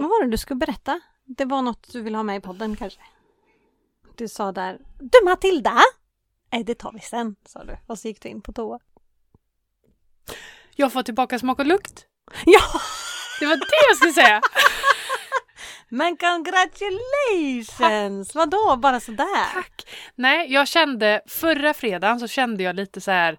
Vad var det du skulle berätta? Det var något du ville ha med i podden kanske? Du sa där, du Matilda! Nej, det tar vi sen, sa du. Och så gick du in på toa. Jag får tillbaka smak och lukt. Ja! Det var det jag skulle säga. Men congratulations! Vadå, bara sådär? Tack. Nej, jag kände förra fredagen så kände jag lite så här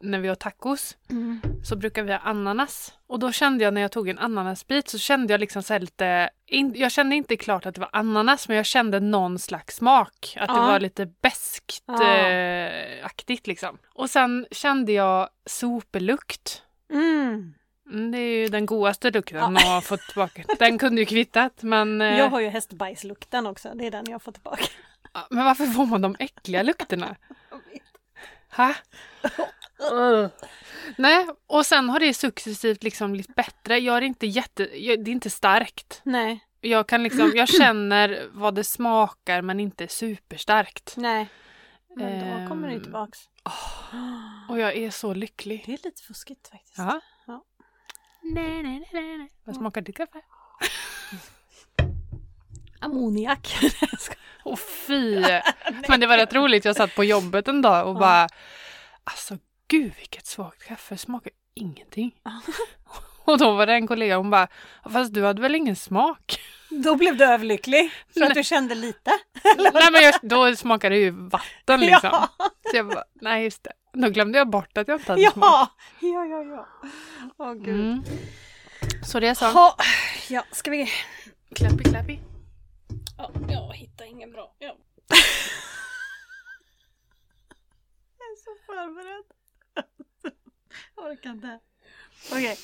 när vi har tacos Mm. så brukar vi ha ananas och då kände jag när jag tog en ananasbit så kände jag liksom så här lite in, jag kände inte klart att det var ananas men jag kände någon slags smak att det Ja. var lite beskt Ja. eh, aktigt liksom. Och sen kände jag soplukt. Mm. Mm, Det är ju den godaste lukten Ja. man har fått tillbaka. Den kunde ju kvittat men, eh, Jag har ju hästbajslukten också, det är den jag får tillbaka. ja, men varför får man de äckliga lukterna? Ha? Nej, och sen har det successivt liksom blivit bättre. Jag är inte jätte, jag, det är inte starkt. Nej, Jag kan liksom, jag känner vad det smakar men inte superstarkt. nej. Men då kommer det ju Ehm. tillbaks. Och jag är så lycklig. Det är lite fuskigt faktiskt. Oh. Ja. Ja. Nej, nej, nej, nej. Vad smakar ditt kaffe? Ammoniak. Åh fy! Men det var rätt roligt, jag satt på jobbet en dag och bara Alltså gud vilket svagt kaffe, smakar ingenting. Och då var det en kollega hon bara Fast du hade väl ingen smak? Då blev du överlycklig för att du kände lite. nej men jag, då smakade det ju vatten liksom. Ja. Så jag bara, nej just det. Då glömde jag bort att jag inte hade smak. Ja, ja, ja, ja. Åh gud. Mm. Så det är så. Ha, ja, ska vi... Klappy, klappy. Ja, jag hittar ingen bra. Ja. jag är så förberedd. Jag orkar inte. Okej.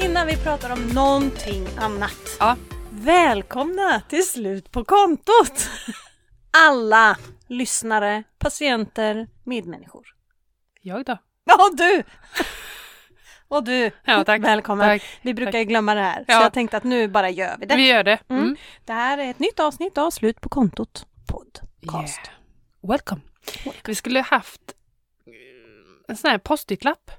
Innan vi pratar om någonting annat. Ja. Välkomna till slut på kontot! Alla lyssnare, patienter, medmänniskor. Jag då? Ja, och du! Och du! Ja tack. Välkommen! Tack. Vi brukar ju glömma det här, Ja. så jag tänkte att nu bara gör vi det. Vi gör det. Mm. Mm. Det här är ett nytt avsnitt av Slut på kontot podcast. Yeah. Welcome. Vi skulle haft eh, en sån här post-it-lapp.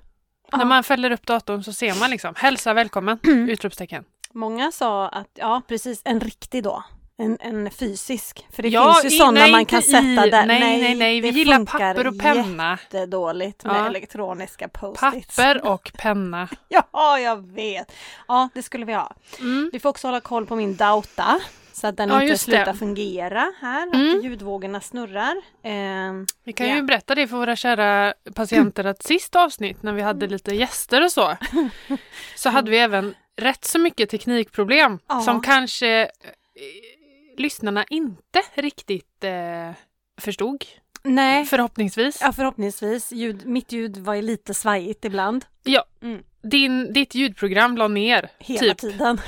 Ja. När man fäller upp datorn så ser man liksom hälsa välkommen, utropstecken. Många sa att, ja precis, en riktig då. En, en fysisk. För det Ja, finns i- ju sådana nej, man inte kan sätta i- där. Nej, nej, nej, vi det gillar funkar papper och penna. jättedåligt med Ja. elektroniska post-its. Papper och penna. Ja, jag vet. Ja, det skulle vi ha. Mm. Vi får också hålla koll på min dauta. Så att den Ja, inte just det. slutar fungera här. Att Mm. ljudvågorna snurrar. Ehm, Vi kan Ja. ju berätta det för våra kära patienter att sist avsnitt när vi hade Mm. lite gäster och så, så hade vi även rätt så mycket teknikproblem Ja. som kanske eh, lyssnarna inte riktigt eh, förstod, nej, förhoppningsvis. ja, förhoppningsvis. Ljud, mitt ljud var ju lite svajigt ibland. Ja. Mm. Din, ditt ljudprogram la ner. Hela typ. tiden.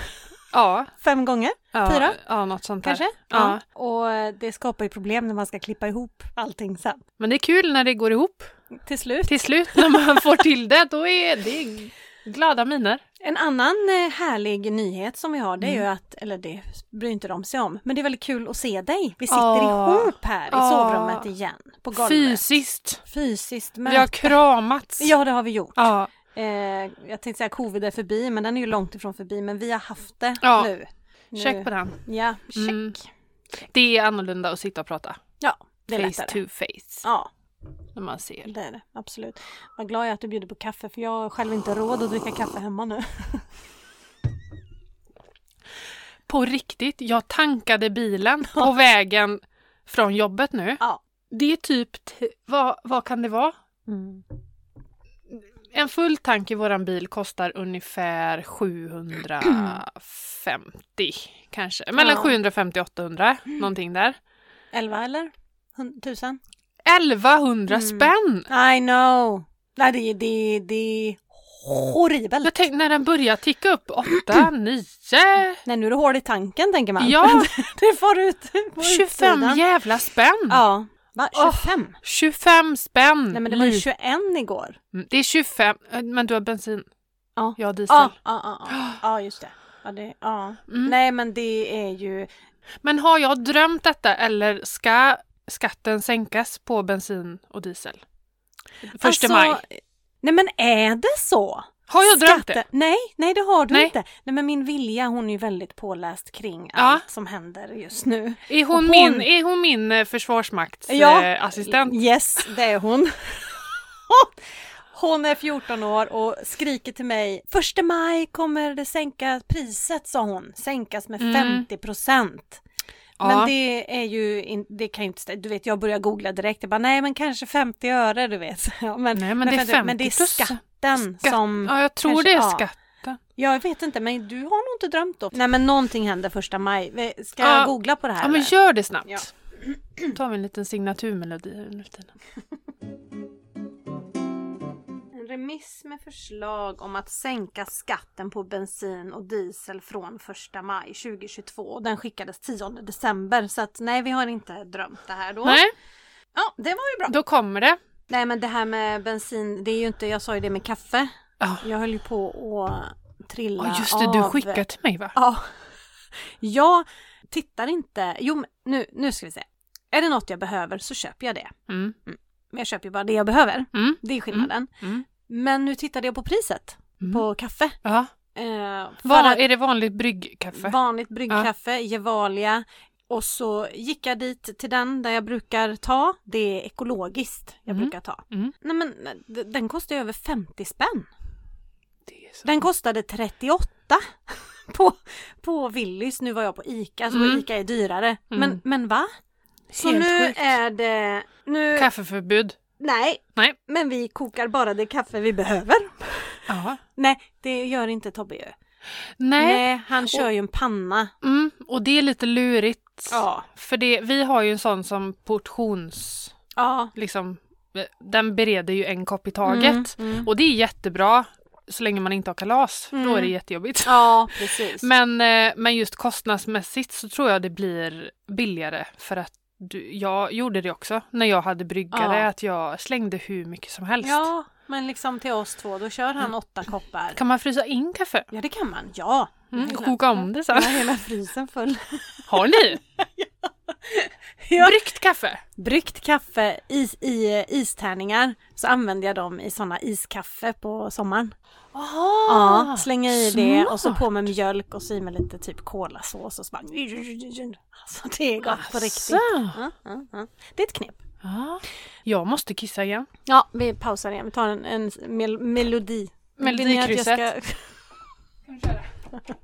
Ja, Fem gånger ja. Fyra? Ja, något sånt där. kanske. Ja. Och eh, det skapar ju problem när man ska klippa ihop allting sen. Men det är kul när det går ihop. Till slut. Till slut när man får till det, då är det glada miner. En annan eh, härlig nyhet som vi har det är ju att, eller det bryr inte de sig om, men det är väldigt kul att se dig. Vi sitter Åh. ihop här i Åh. sovrummet igen. På golvet. Fysiskt. Fysiskt Vi har möte. kramats. Ja, det har vi gjort. Ja. Eh, jag tänkte säga covid är förbi, men den är ju långt ifrån förbi. Men vi har haft det Ja. nu. nu. Check på den. Ja, check. Mm. Det är annorlunda att sitta och prata Ja, det är face lättare. to face. Ja, När man ser. det är det. Absolut. Vad glad jag är att du bjuder på kaffe, för jag har själv inte råd att dricka kaffe hemma nu. På riktigt, jag tankade bilen på vägen från jobbet nu. Ja. Det är typ, t- vad, vad kan det vara? Mm. En full tank i våran bil kostar ungefär 750 kanske. Mellan Ja. Mm. 750 och 800, någonting där. Elva eller? Hun- Tusen? 1100 Mm. spänn! I know! Nej, det är... Det, det... Horribelt! Jag tänkte när den börjar ticka upp, 8, 9, Nej, nu är det hål i tanken tänker man. Ja. det får ut på 25 utsidan. jävla spänn! Ja, Va? Åh. 25? 25 spänn! Nej men det var ju Lite. 21 igår. Mm, Det är 25, eh, men du har bensin. Ja. Jag har diesel. Ja, ja, ja, ja. ja just det. Ja, det ja. Mm. Nej men det är ju... Men har jag drömt detta eller ska skatten sänkas på bensin och diesel? Första Alltså, maj. Nej men är det så? Har jag drömt det? Skatte- Nej, nej det har du Nej. inte. Nej men min Vilja hon är ju väldigt påläst kring Ja. allt som händer just nu. Är hon, hon- Min, är hon min eh, försvarsmakts Ja. eh, assistent? Yes, det är hon. Hon är 14 år och skriker till mig, första maj kommer det sänka priset sa hon, sänkas med Mm. 50 procent. Ja. Men det är ju, in, det kan ju inte, stä- du vet jag börjar googla direkt, jag bara nej men kanske 50 öre du vet. Ja, men, Nej, men det är 50 men det är 50%. skatten Skatt- som, Ja, jag tror kanske- det är ja. skatten. jag vet inte men du har nog inte drömt om. Nej men någonting händer första maj, Vi- ska Ja. jag googla på det här? Ja, men eller? gör det snabbt. Ja. Ta mig en liten signaturmelodi här nu för tiden. En remiss med förslag om att sänka skatten på bensin och diesel från 1 maj 2022. Den skickades 10 december så att nej vi har inte drömt det här då. Nej, Ja, det var ju bra. då kommer det. Nej men det här med bensin, det är ju inte, jag sa ju det med kaffe. Ja, Jag höll ju på att trilla Ja, just det, du av. skickar till mig va? Ja. Jag tittar inte, jo men nu, nu ska vi se. Är det något jag behöver så köper jag det. Mm. Men jag köper ju bara det jag behöver. Mm. Det är skillnaden. Mm. Men nu tittade jag på priset Mm. på kaffe. Ja. Eh, för Var, att Är det vanligt bryggkaffe? vanligt bryggkaffe, Gevalia. Och så gick jag dit till den där jag brukar ta. Det är ekologiskt jag Mm. brukar ta. Mm. Nej men eh, d- den kostar ju över 50 spänn. Det är så. Den kostade 38 på, på Willys. Nu var jag på ICA, så Mm. ICA är dyrare. Men, Mm. men va? Så Helt nu sjukt. är det... Nu, Kaffeförbud. nej, Nej. men vi kokar bara det kaffe vi behöver. Ja. Nej, det gör inte Tobbe ju. Nej. Nej, han kör ju en panna. Mm. Och det är lite lurigt. Ja. För det, vi har ju en sån som portions... Ja. Liksom, eh, den bereder ju en kopp i taget. Mm, mm. Och det är jättebra så länge man inte har kalas. för Då är det Mm. jättejobbigt. Ja, precis. Men, eh, men just kostnadsmässigt så tror jag det blir billigare för att du, jag gjorde det också när jag hade bryggare, Ja. att jag slängde hur mycket som helst. Ja, men liksom till oss två, då kör Mm. han åtta koppar. Kan man frysa in kaffe? Ja, det kan man. Ja. Mm, Hela- koka om det sen. Ja, hela frysen full. Har ni? Ja. Bryggt kaffe? Bryggt kaffe is, i eh, istärningar så använder jag dem i sådana iskaffe på sommaren. Aha, ja, slänga i det och så smart. på med mjölk och så i med lite typ kolasås och så bara... Alltså det är gott på riktigt. Asså. Ja, ja, ja. Det är ett knep. Ja. Jag måste kissa igen. Ja, vi pausar igen. Vi tar en, en mel- melodi. Melodikrysset. Vill ni att jag ska- Kan vi köra?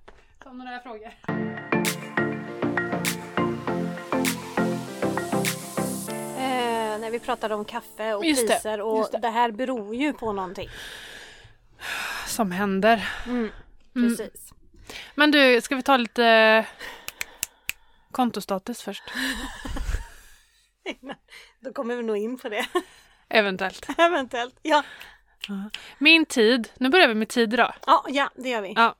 Ta några frågor. Eh, när vi pratade om kaffe och Just det, priser och just det. det. här beror ju på någonting. Som händer. Mm. Precis. Men du, ska vi ta lite eh, kontostatus först? Då kommer vi nog in på det Eventuellt. eventuellt. Ja, Min tid, nu börjar vi med tid idag. ja, ja det gör vi. Ja.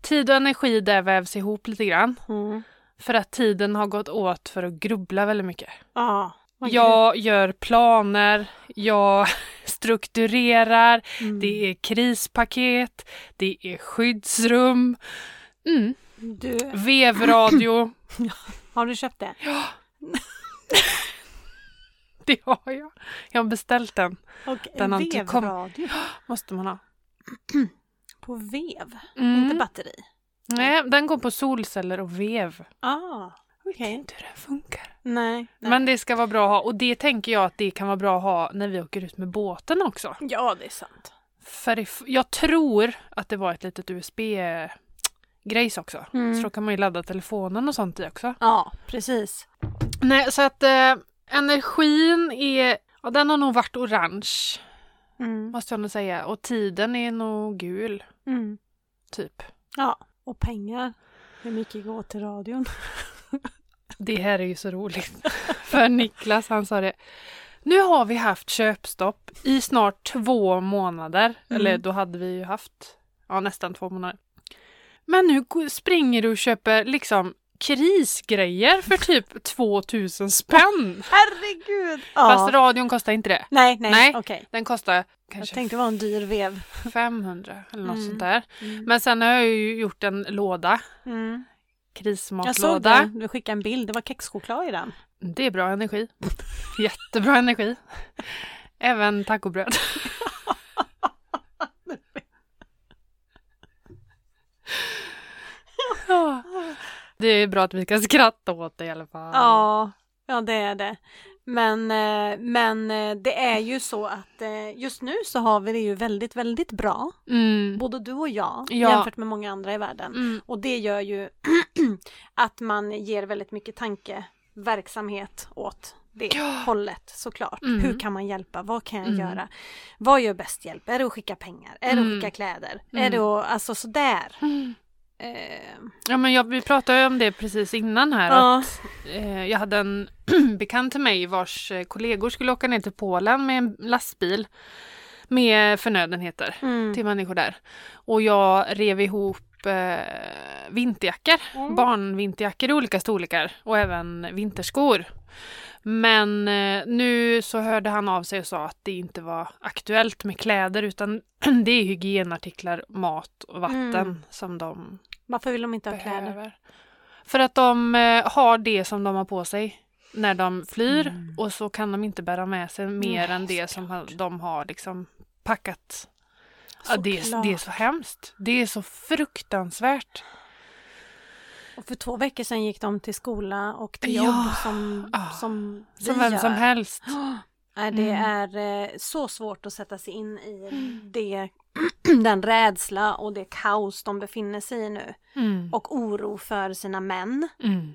Tid och energi där vävs ihop lite grann. Mm. För att tiden har gått åt för att grubbla väldigt mycket. Ja. vad kul. Jag gör planer, jag strukturerar, Mm. det är krispaket, det är skyddsrum, mm. Du, vevradio, har du köpt det? det har jag. Jag har beställt den, Och Den har inte kommit. vevradio måste man ha. på vev, Mm. inte batteri. Nej, den går på solceller och vev. Ah, okej. Inte hur den funkar. Nej, nej. Men det ska vara bra att ha och det tänker jag att det kan vara bra att ha när vi åker ut med båten också. Ja, det är sant. För if- jag tror att det var ett litet USB-grejs också. Mm. Så då kan man ju ladda telefonen och sånt i också. Ja, precis. Nej, så att eh, energin är, ja, den har nog varit orange Mm. måste jag nog säga. Och tiden är nog gul, Mm. typ. Ja, och pengar. Hur mycket går till radion? Det här är ju så roligt. För Niklas, han sa det. Nu har vi haft köpstopp i snart två månader. Mm. Eller då hade vi ju haft, ja nästan två månader. Men nu gå- springer du och köper liksom krisgrejer för typ 2000 spänn. Herregud! Ja. Fast radion kostar inte det. nej, nej, Nej. okej. Den kostar Jag kanske tänkte det var en dyr vev. 500 eller något Mm. sånt där. Men sen har jag ju gjort en låda, Mm. Jag såg krismatlåda. den, du skickade en bild, det var kexchoklad i den. Det är bra energi. Jättebra energi. Även tacobröd. Ja. Det är bra att vi kan skratta åt det i alla fall. Ja, ja det är det. Men, eh, men eh, det är ju så att eh, just nu så har vi det ju väldigt, väldigt bra. Mm. Både du och jag Ja. jämfört med många andra i världen. Mm. Och det gör ju att man ger väldigt mycket tankeverksamhet åt det hållet såklart. Mm. Hur kan man hjälpa? Vad kan jag Mm. göra? Vad gör bäst hjälp? Är det att skicka pengar? Är det att Mm. skicka kläder? Är Mm. det att, alltså sådär. Eh, Ja, men jag, vi pratade ju om det precis innan här. att ja. Eh, Jag hade en bekant till mig vars eh, kollegor skulle åka ner till Polen med en lastbil med förnödenheter Mm. till människor där. Och jag rev ihop eh, vinterjackor, Mm. barnvinterjackor i olika storlekar och även vinterskor. Men eh, nu så hörde han av sig och sa att det inte var aktuellt med kläder utan det är hygienartiklar, mat och vatten Mm. som de Varför vill de inte ha behöver. kläder? För att de eh, har det som de har på sig när de flyr och så kan de inte bära med sig mer Mm. Nej, än det som ha- de har liksom packat. Ja, det, är, Såklart. det är så hemskt. Det är så fruktansvärt. Och för två veckor sedan gick de till skola och till Ja. jobb som, Ah. som vi Som vem som gör. helst. Nej, det Mm. är eh, så svårt att sätta sig in i det, den rädsla och det kaos de befinner sig i nu. Mm. Och oro för sina män. Mm.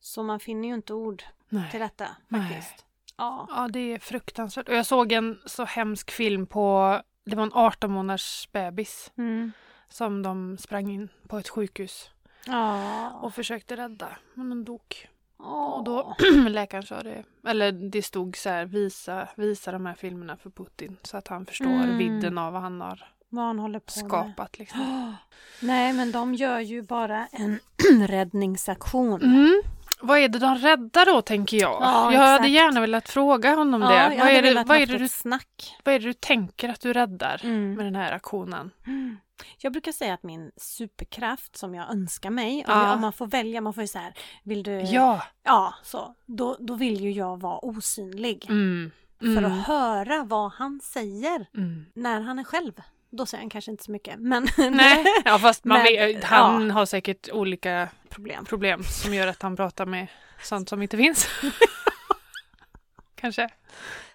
Så man finner ju inte ord till Nej. detta faktiskt. Ja. Ja, det är fruktansvärt. Och jag såg en så hemsk film på, det var en 18 månaders bebis Mm. som de sprang in på ett sjukhus Ja. och försökte rädda, men de dog. Och Och då läkaren sa det, eller det stod så här, visa, visa de här filmerna för Putin så att han förstår Mm. vidden av vad han har vad han håller på med. skapat. Liksom. Nej, men de gör ju bara en räddningsaktion. Mm. Vad är det de räddar då tänker jag? Ja, jag hade exakt. gärna velat fråga honom Ja, det. jag Vad hade är det, velat vad, är haft det du, ett snack. vad är det du tänker att du räddar Mm. med den här aktionen? Mm. Jag brukar säga att min superkraft som jag önskar mig, om, Ja. jag, om man får välja, man får ju så här, vill du, Ja! ja, så, då, då vill ju jag vara osynlig. Mm. För Mm. att höra vad han säger Mm. när han är själv. Då säger han kanske inte så mycket, men Nej, ja, fast man Men, vet, han har säkert olika problem. problem som gör att han pratar med sånt som inte finns. Kanske.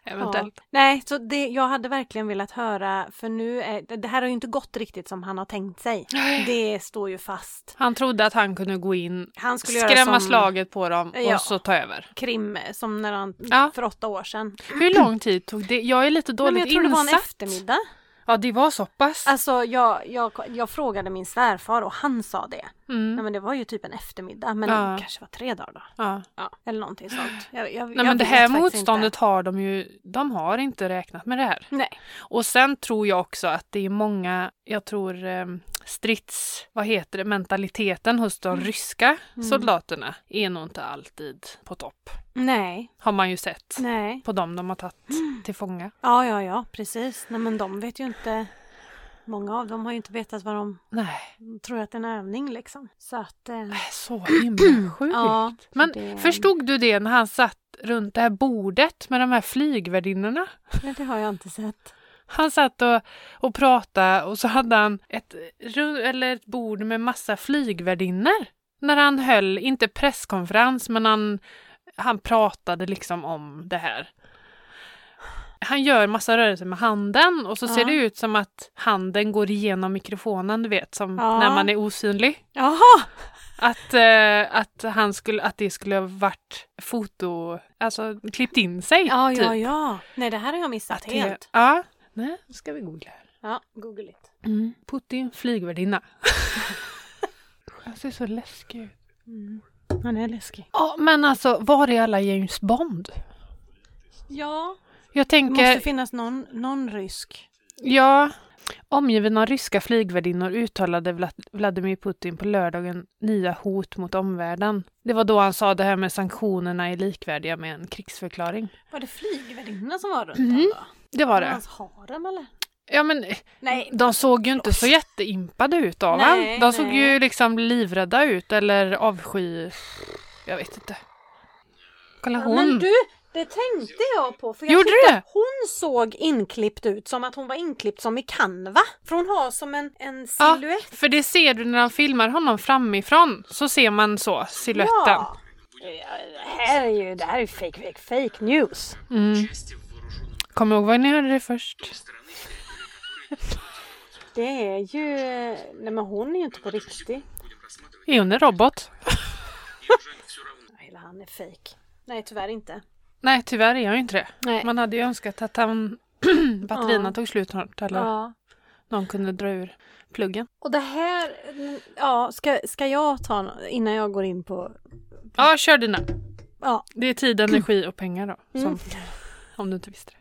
Eventuellt. Ja. Nej, så det, jag hade verkligen velat höra, för nu är, det här har ju inte gått riktigt som han har tänkt sig. Det står ju fast. Han trodde att han kunde gå in, Han skulle skrämma göra som slaget på dem Ja. och så ta över. Krim, som när han, Ja. för åtta år sedan. Hur lång tid tog det? Jag är lite Nej, dåligt men jag tror det var en insatt. eftermiddag. Ja, det var så pass. Alltså jag, jag, jag frågade min svärfar och han sa det. Nej Mm. men det var ju typ en eftermiddag men Ja. det kanske var tre dagar då. Ja. Ja. Eller någonting sånt. Jag, jag, Nej, jag men det vet här faktiskt motståndet inte. har de ju, de har inte räknat med det här. Nej. Och sen tror jag också att det är många, jag tror eh, strids, vad heter det, mentaliteten hos de Mm. ryska soldaterna är nog inte alltid på topp. Nej. Har man ju sett Nej. Mm. på dem de har tagit till fånga. Ja ja ja precis. Nej men de vet ju inte. Många av dem har ju inte vetat vad de Nej, tror att det är en övning liksom. Så att. Eh, så himla sjukt. ja. Men det, förstod du det när han satt runt det här bordet med de här flygvärdinnorna? Nej, det har jag inte sett. Han satt och, och pratade och så hade han ett, ru- eller ett bord med massa flygvärdinnor. När han höll, inte presskonferens, men han, han pratade liksom om det här. Han gör massa rörelser med handen och så ser Ja. det ut som att handen går igenom mikrofonen, du vet, som Ja. när man är osynlig. Jaha! Att, eh, att, han skulle, att det skulle ha varit foto, alltså klippt in sig. Ja typ. ja ja. Nej det här har jag missat Att det- helt. Ja. Nej, nu ska vi googla här. Ja, google it. Putin flygvärdinna. Han ser så läskig ut. Mm. Han är läskig. Ja, men alltså var är alla James Bond? Ja. Jag Det måste tänker, finnas någon, någon rysk. ja, Omgiven av ryska flygvärdinnor uttalade Vla- Vladimir Putin på lördagen nya hot mot omvärlden. Det var då han sa det här med sanktionerna är likvärdiga med en krigsförklaring. Var det flygvärdinnan som var runt Mm, honom då? Det var Var det. hans harem eller? Ja men Nej. de såg ju inte så jätteimpade ut av Nej, han. De såg nej. ju liksom livrädda ut eller avsky... Jag vet inte. Kolla Ja, Men hon. du, det tänkte jag på. För jag Gjorde tyckte du? att Hon såg inklippt ut som att hon var inklippt som i Canva. För hon har som en, en Ja, silhuett. för det ser du när de filmar honom framifrån. Så ser man så, siluetten. Ja. Ja, Det här är ju det här är ju fake, fake, fake news. Mm. Kom ihåg vad ni hörde det först. Det är ju... Nej men hon är ju inte på riktigt. Är hon en robot? Eller han är fake. Nej tyvärr inte. Nej, tyvärr är jag ju inte det. Nej. Man hade ju önskat att han, batterierna Ja. tog slut snart eller Ja. någon kunde dra ur pluggen. Och det här... Ja, ska, ska jag ta nå- innan jag går in på... Ja, kör dina. Ja. Det är tid, energi och pengar då. Som, Mm. Om du inte visste det.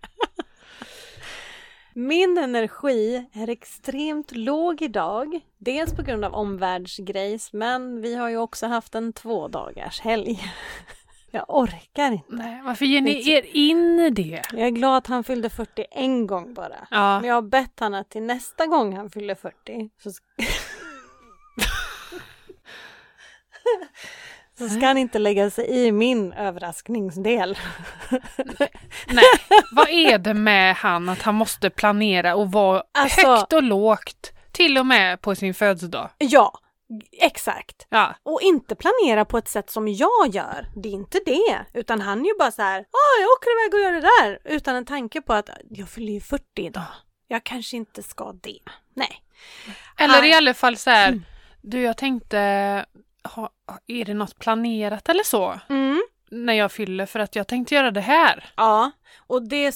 Min energi är extremt låg idag. Dels på grund av omvärldsgrejs men vi har ju också haft en två dagars helg. Jag orkar inte. Nej, varför ger ni typ- er in i det? Jag är glad att han fyllde 40 en gång bara. Ja, Men jag har bett han att till nästa gång han fyller 40 så, sk- så ska han inte lägga sig i min överraskningsdel. nej. Vad är det med han att han måste planera och vara Alltså- högt och lågt? Till och med på sin födelsedag. Ja, exakt. Ja. Och inte planera på ett sätt som jag gör. Det är inte det. Utan han är ju bara så här, ah, jag åker iväg och gör det där. Utan en tanke på att jag fyller ju 40 idag. Jag kanske inte ska det. Nej. Eller Han- i alla fall så här, Mm. du jag tänkte, ha, är det något planerat eller så? Mm. När jag fyller för att jag tänkte göra det här. Ja, och det,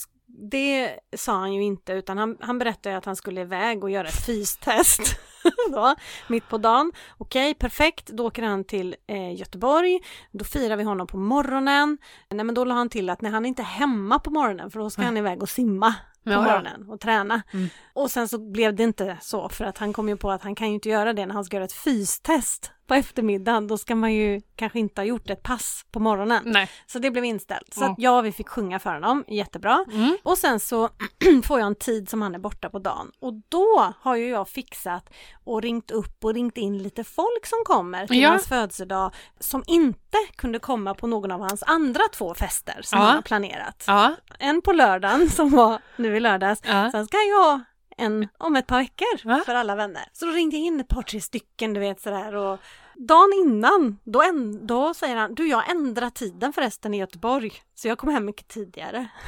det sa han ju inte utan han, han berättade ju att han skulle iväg och göra ett fystest. Då, mitt på dagen. Okej, perfekt. Då åker han till eh, Göteborg. Då firar vi honom på morgonen. Nej, men då la han till att när han är inte hemma på morgonen för då ska han iväg och simma på Ja. morgonen och träna. Mm. Och sen så blev det inte så för att han kom ju på att han kan ju inte göra det när han ska göra ett fystest på eftermiddagen. Då ska man ju kanske inte ha gjort ett pass på morgonen. Nej. Så det blev inställt. Så Ja. att ja, vi fick sjunga för honom, jättebra. Mm. Och sen så får jag en tid som han är borta på dagen. Och då har ju jag fixat och ringt upp och ringt in lite folk som kommer till Ja. hans födelsedag som inte kunde komma på någon av hans andra två fester som Ja. han har planerat. Ja. En på lördagen som var nu i lördags. Ja. Sen ska jag ha en om ett par veckor Va? för alla vänner. Så då ringde jag in ett par tre stycken du vet sådär och dagen innan då, en, då säger han du jag ändrar tiden förresten i Göteborg så jag kommer hem mycket tidigare.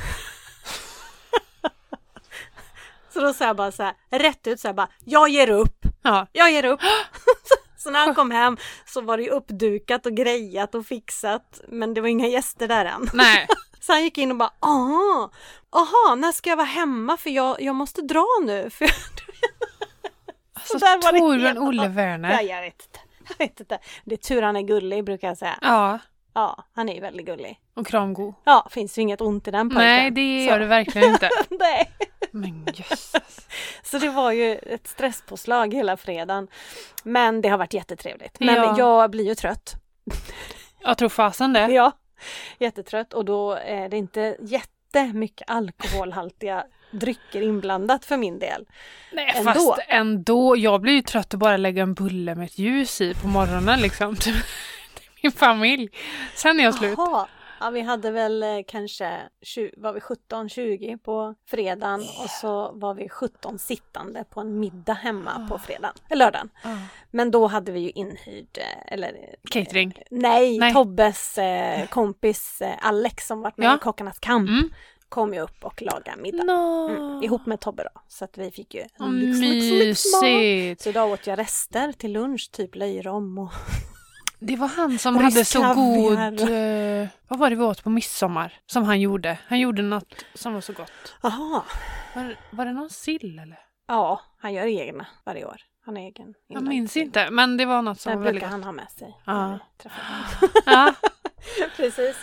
så då sa jag bara så här rätt ut så här bara jag ger upp, ja. jag ger upp. så när han kom hem så var det ju uppdukat och grejat och fixat men det var inga gäster där än. Nej. Så han gick in och bara aha, aha, när ska jag vara hemma för jag, jag måste dra nu. För Alltså där var det Torbjörn helt- Olle jag, Werner. jag, vet inte, jag vet inte. Det är tur han är gullig brukar jag säga. Ja. Ja, han är ju väldigt gullig. Och Kramgo. Ja, finns ju inget ont i den pojken. Nej, det gör så. det verkligen inte. Nej. Men jösses. Så det var ju ett stresspåslag hela fredagen. Men det har varit jättetrevligt. Men Ja. jag blir ju trött. Jag tror fasen det. Ja, jättetrött och då är det inte jättemycket alkoholhaltiga drycker inblandat för min del. Nej, Ändå. fast ändå. Jag blir ju trött att bara lägga en bulle med ett ljus i på morgonen liksom. Till till min familj. Sen är jag slut. Jaha. Ja, vi hade väl eh, kanske 20, var vi 17-20 på fredagen och så var vi 17 sittande på en middag hemma Ah. på fredagen, eller lördagen. Ja. Men då hade vi ju inhyrd, eh, eller eh, Catering. nej, Nej. Tobbes eh, kompis eh, Alex som varit med Ja. i Kockarnas kamp Mm. kom ju upp och lagade middag. No. Mm, ihop med Tobbe då. Så att vi fick ju Åh, lyx, lyx, lyx, mat. mysigt. Så idag åt jag rester till lunch, typ löjrom och Det var han som Rysk hade så kaviar. god... eh, vad var det vi åt på midsommar? Som han gjorde. Han gjorde något som var så gott. Aha. Var, var det någon sill eller? Ja, han gör egna varje år. Han är egen. Jag minns inte. Men det var något som Det var väldigt brukar gott. han ha med sig. Ja. när vi träffar honom. Ja. Precis.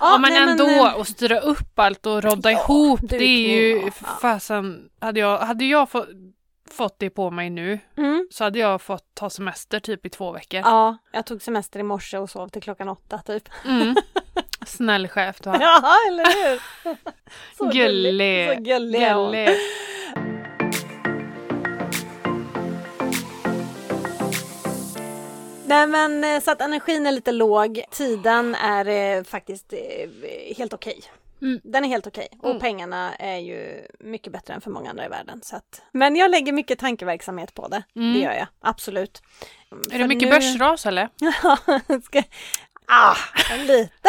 Ja, men nej, ändå eh, att styra upp allt och rodda Ja, ihop. Det är dukning ju och- för ja. fasen. Hade jag, hade jag fått fått det på mig nu Mm. så hade jag fått ta semester typ i två veckor. Ja, jag tog semester i morse och sov till klockan åtta typ. Mm. Snäll chef du har. Ja, eller hur? Så Gullig. Så gullig. är hon. Gullig. Nej men eh, så att energin är lite låg, tiden är eh, faktiskt eh, helt okej. Mm. Den är helt okej och Mm. pengarna är ju mycket bättre än för många andra i världen. Så att... Men jag lägger mycket tankeverksamhet på det, Mm. det gör jag absolut. Är det mycket börsras eller? Ja, ska... ah, lite.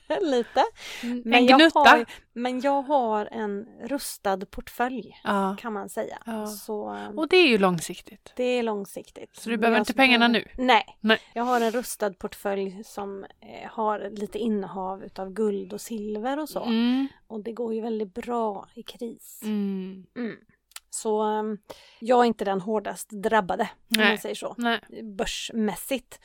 lite. Mm, En jag gnutta? har, men jag har en rustad portfölj Ja. kan man säga. Ja. Så eh, Och det är ju långsiktigt. det är långsiktigt. Så du behöver Jag inte ska- pengarna nu? Nej. Nej. Jag har en rustad portfölj som eh, har lite innehav utav guld och silver och så. Mm. Och det går ju väldigt bra i kris. Mm. Mm. Så eh, jag är inte den hårdast drabbade om man Nej. säger så. Nej. Börsmässigt.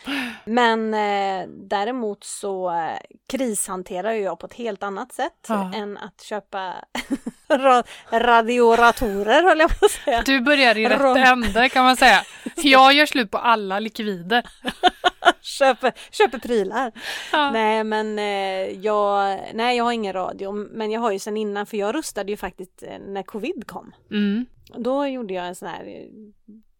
Men eh, däremot så eh, krishanterar ju jag på ett helt annat sätt Ja. än att köpa ra- radioratorer höll jag på att säga. Du börjar i Rom. rätt ände kan man säga. Jag gör slut på alla likvider. Köper, köper prylar. Ja. Nej men eh, jag, nej, jag har ingen radio men jag har ju sen innan för jag rustade ju faktiskt eh, när covid kom. Mm. Då gjorde jag en sån här, eh,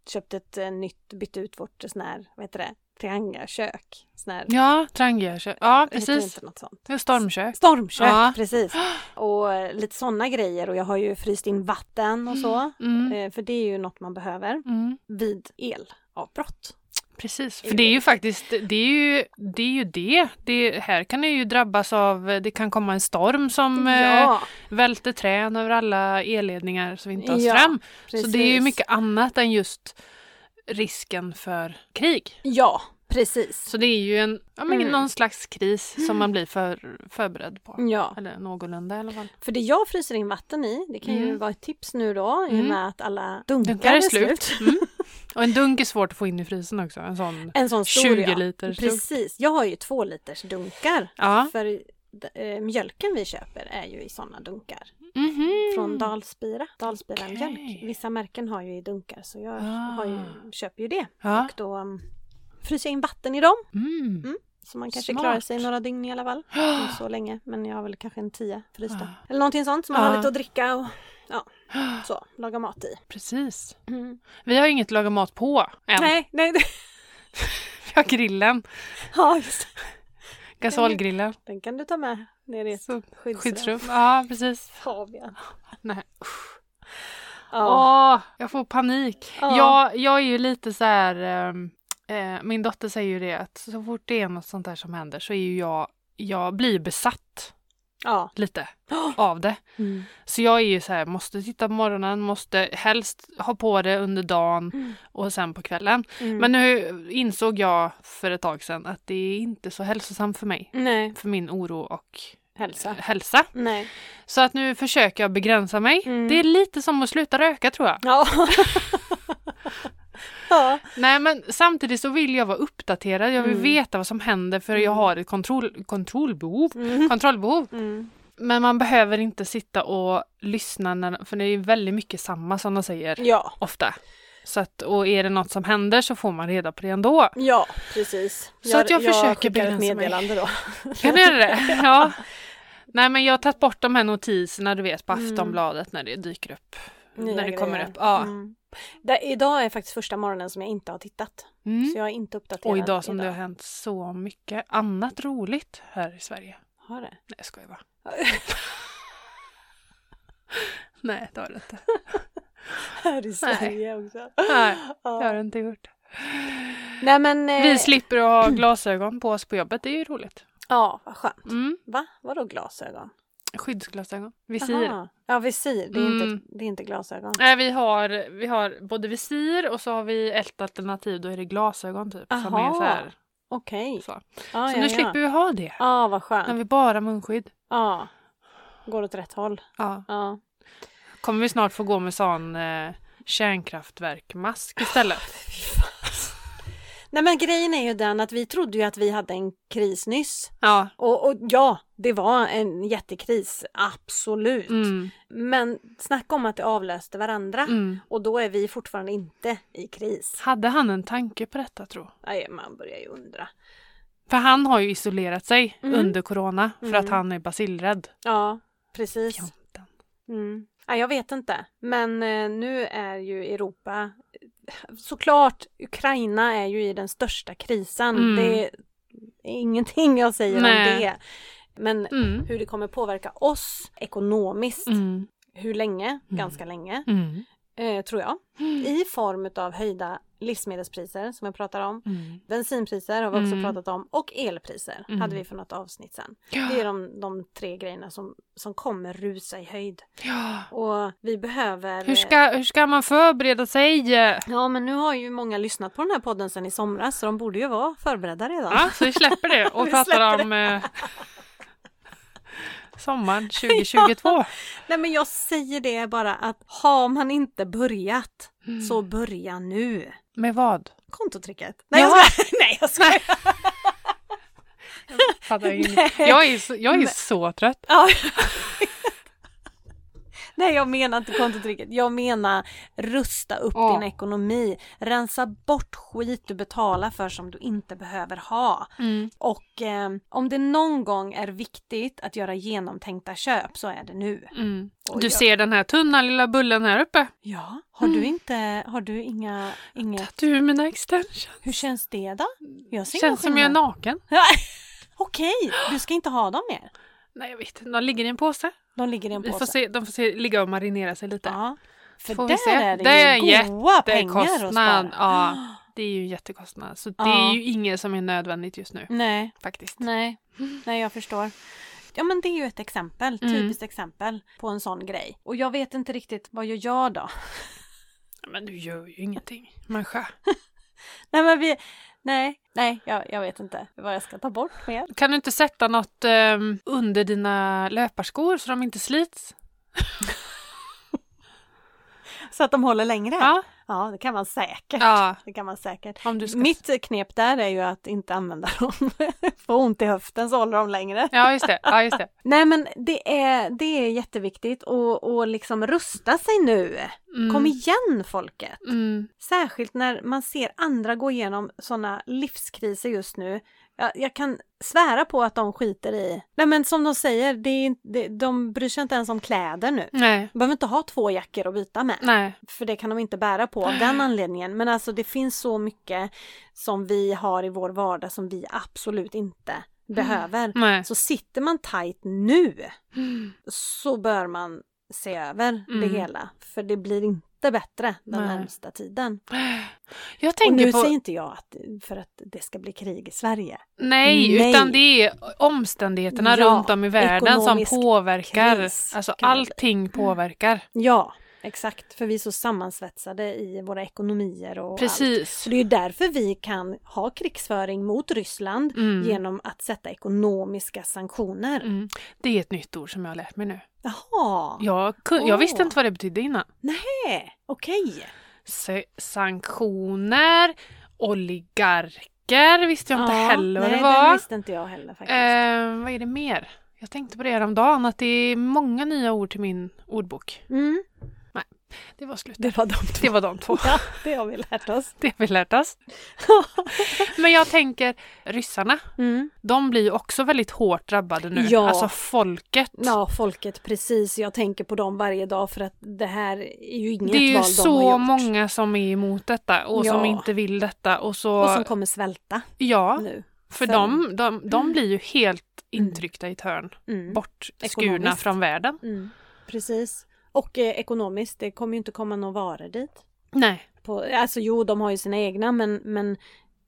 köpte ett eh, nytt, bytte ut vårt sån här, vad heter det, triangelkök. Sån här, Ja, triangel. Ja, heter precis. Inte något sånt. Det är stormkök. Stormkök, Ja. precis. Och eh, lite sådana grejer och jag har ju fryst in vatten och så. Mm. Eh, För det är ju något man behöver Mm. vid elavbrott. Precis, för det är ju faktiskt det. Är ju, det, är ju det. det här kan det ju drabbas av, det kan komma en storm som eh, Ja, välter trän över alla elledningar så vi inte har Ja, ström. så det är ju precis. mycket annat än just risken för krig. Ja, precis. Så det är ju en, ja, men Mm. någon slags kris som man blir för, förberedd på. Ja. Eller någorlunda i alla fall. För det jag fryser in vatten i, det kan ju Mm. vara ett tips nu då i och Mm. med att alla dunkar, Dunkar är är slut. slut. Mm. Och en dunk är svårt att få in i frysen också. En sån En sån stor 20 ja. liters dunk. Precis, jag har ju två liters dunkar. Ja. För eh, mjölken vi köper är ju i sådana dunkar. Mhm. Från Dalspira. Dalspira Okej. mjölk. Vissa märken har ju i dunkar så jag har ju, Ah. köper ju det. Ja. Och då um, fryser jag in vatten i dem. Mm. Så man kanske Smart. klarar sig några dygn i alla fall. Inte så länge, men jag har väl kanske en tio frysta. Ah. Eller någonting sånt som man har Ah. lite att dricka och ja, så, laga mat i. Precis. Mm. Vi har inget laga mat på än. Nej, nej, det- Vi har grillen, Ja, just det. gasolgrillen, Den kan du ta med ner i ett Så, skyddsrum. skyddsrum. Ja, precis. Fabian. Nej. Ja. Åh, jag får panik. Ja. Jag, jag är ju lite så här... ehm, eh, min dotter säger ju det att så fort det är något sånt där som händer så är ju jag... Jag blir besatt ja. Mm. lite av det. Så jag är ju så här, måste titta på morgonen, måste helst ha på det under dagen Mm. och sen på kvällen. Mm. Men nu insåg jag för ett tag sedan att det är inte så hälsosamt för mig. Nej, För min oro och hälsa. hälsa. Nej. Så att nu försöker jag begränsa mig. Mm. Det är lite som att sluta röka tror jag. Ja. ja. Nej men samtidigt så vill jag vara uppdaterad, jag vill Mm. veta vad som händer för jag har ett kontroll, kontrollbehov. Mm. kontrollbehov. Mm. Men man behöver inte sitta och lyssna när, för det är ju väldigt mycket samma som de säger Ja. ofta. Så att, och är det något som händer så får man reda på det ändå. Ja, precis. Så att jag försöker skickar ett begränsa mig. meddelande då. Kan du göra det? Ja. Nej men jag har tagit bort de här notiserna du vet på Mm. Aftonbladet när det dyker upp. Nya när det kommer grejer. upp. Ja. Mm. Det, idag är faktiskt första morgonen som jag inte har tittat. Mm. Så jag är inte uppdaterad. Och idag som det har hänt så mycket annat roligt här i Sverige. Har det? Nej, jag skojar bara. Nej, det har du inte. Här i Sverige också. Nej, det har Ja. du inte gjort. Nej men... eh, Vi slipper att ha glasögon på oss på jobbet, det är ju roligt. Ja, vad skönt. Mm. Va? Vadå glasögon? Skyddsglasögon, visir. Aha. Ja, visir. Det är, Mm. inte, det är inte glasögon. Nej, vi har, vi har både visir och så har vi ett alternativ, då är det glasögon typ. Som är Aha. så här. Okej. Så. Ah, så nu ja, ja. slipper vi ha det. Ja, ah, vad skönt. Nu Ja. har vi bara munskydd. Går åt rätt håll. Ja. Ja. Kommer vi snart få gå med sån eh, kärnkraftverkmask istället. Nej men grejen är ju den att vi trodde ju att vi hade en kris nyss. Ja. Och, och ja, det var en jättekris, absolut. Mm. Men snacka om att det avlöste varandra. Mm. Och då är vi fortfarande inte i kris. Hade han en tanke på detta tro? Nej, man börjar ju undra. För han har ju isolerat sig Mm. under corona för att Mm. han är basilrädd. Ja, precis. Fjanten. Mm. Ja, jag vet inte. Men eh, nu är ju Europa... Såklart, Ukraina är ju i den största krisen. Mm. Det är ingenting jag säger om Nej. det. Men Mm. hur det kommer påverka oss ekonomiskt, Mm. hur länge? Ganska länge, Mm. eh, tror jag. I form av höjda livsmedelspriser, som jag pratar om. Mm. Bensinpriser har vi också Mm. pratat om och elpriser Mm. hade vi för något avsnitt sen. Det är Ja. de, de tre grejerna som, som kommer rusa i höjd. Ja. Och vi behöver... Hur, ska, hur ska man förbereda sig? Ja men nu har ju många lyssnat på den här podden sedan i somras så de borde ju vara förberedda redan. Ja, så vi släpper det och Vi pratar släpper om eh, sommaren 2022. Nej men jag säger det bara att har man inte börjat så börja nu. Mm. Med vad? Kontotricket. Nej jag Jaha. skojar! Nej jag skojar! Fattar jag Nej. ingenting. Jag är, så, jag är så trött. Ja. Nej jag menar inte kontotricket. Jag menar rusta upp Ja. din ekonomi. Rensa bort skit du betalar för som du inte behöver ha. Och eh, om det någon gång är viktigt att göra genomtänkta köp så är det nu. Mm. Oj, Du ja. ser den här tunna lilla bullen här uppe. Ja, har Mm. du inte, har du inga, inga, Du, mina extensions. hur känns det då? Jag ser ingen Känns som jag är skillnad. naken. Okej, du ska inte ha dem mer. Nej, jag vet inte. De ligger i en påse. De ligger i en Vi får påse. se, de får se, ligga och marinera sig lite. Ja, för Får vi där se. är det, Det är ju goa Det är pengar att kostnad. spara. Ja, det är ju en jättekostnad. Så det Ja. är ju inget som är nödvändigt just nu Nej, faktiskt. nej, nej jag förstår. Ja men det är ju ett exempel, Mm. typiskt exempel på en sån grej. Och jag vet inte riktigt, vad gör jag då? Men du gör ju ingenting, människa. Nej men vi, nej, nej jag, jag vet inte vad jag ska ta bort mer. Kan du inte sätta något ehm, under dina löparskor så de inte slits? Så att de håller längre? Ja, Ja. det kan man säkert. ja. Det kan man säkert. Om du ska... Mitt knep där är ju att inte använda dem. Får ont i höften så håller de längre. Ja, just det. Ja, just det. Nej men det är, det är jätteviktigt och, och liksom rusta sig nu. Mm. Kom igen folket! Mm. Särskilt när man ser andra gå igenom sådana livskriser just nu. Jag, jag kan svära på att de skiter i... Nej men som de säger, det är, inte- det, de bryr sig inte ens om kläder nu. Nej. De behöver inte ha två jackor att byta med. Nej. För det kan de inte bära på av den anledningen. Men alltså det finns så mycket som vi har i vår vardag som vi absolut inte behöver. Nej. Så sitter man tajt nu så bör man se över det Mm. hela. För det blir inte bättre den Nej. närmsta tiden. Jag Och nu tänker på... säger inte jag att för att det ska bli krig i Sverige. Nej, Mm, Nej. utan det är omständigheterna Ja, runt om i världen som ekonomisk påverkar. kris, alltså kan man väl- allting påverkar. Ja, exakt. För vi är så sammansvetsade i våra ekonomier och allt. Precis. Så det är ju därför vi kan ha krigsföring mot Ryssland Mm. genom att sätta ekonomiska sanktioner. Mm. Det är ett nytt ord som jag har lärt mig nu. Jaha, Jag, kun, jag visste Åh. inte vad det betydde innan. nej, okej. Se- sanktioner, oligarker visste jag inte heller vad nej, det den var. visste inte jag heller faktiskt. Eh, vad är det mer? Jag tänkte på det häromdagen, att det är många nya ord till min ordbok. Mm, Det var slut. det var de två. Det var de Eh, två. Ja, det har vi lärt oss. Det har vi lärt oss. Men jag tänker, ryssarna, Mm. de blir ju också väldigt hårt drabbade nu. Ja. Alltså folket. Ja, folket, precis. Jag tänker på dem varje dag för att det här är ju inget Det är ju val de har så gjort. många som är emot detta och som Ja. inte vill detta. Och så, Och som kommer svälta ja, nu. för sen. de, de, de blir ju helt intryckta i ett hörn. Mm. Bortskurna Ekonomiskt. från världen. Mm. Precis. Och eh, ekonomiskt, det kommer ju inte komma några varor dit. Nej. På, alltså jo, de har ju sina egna men, men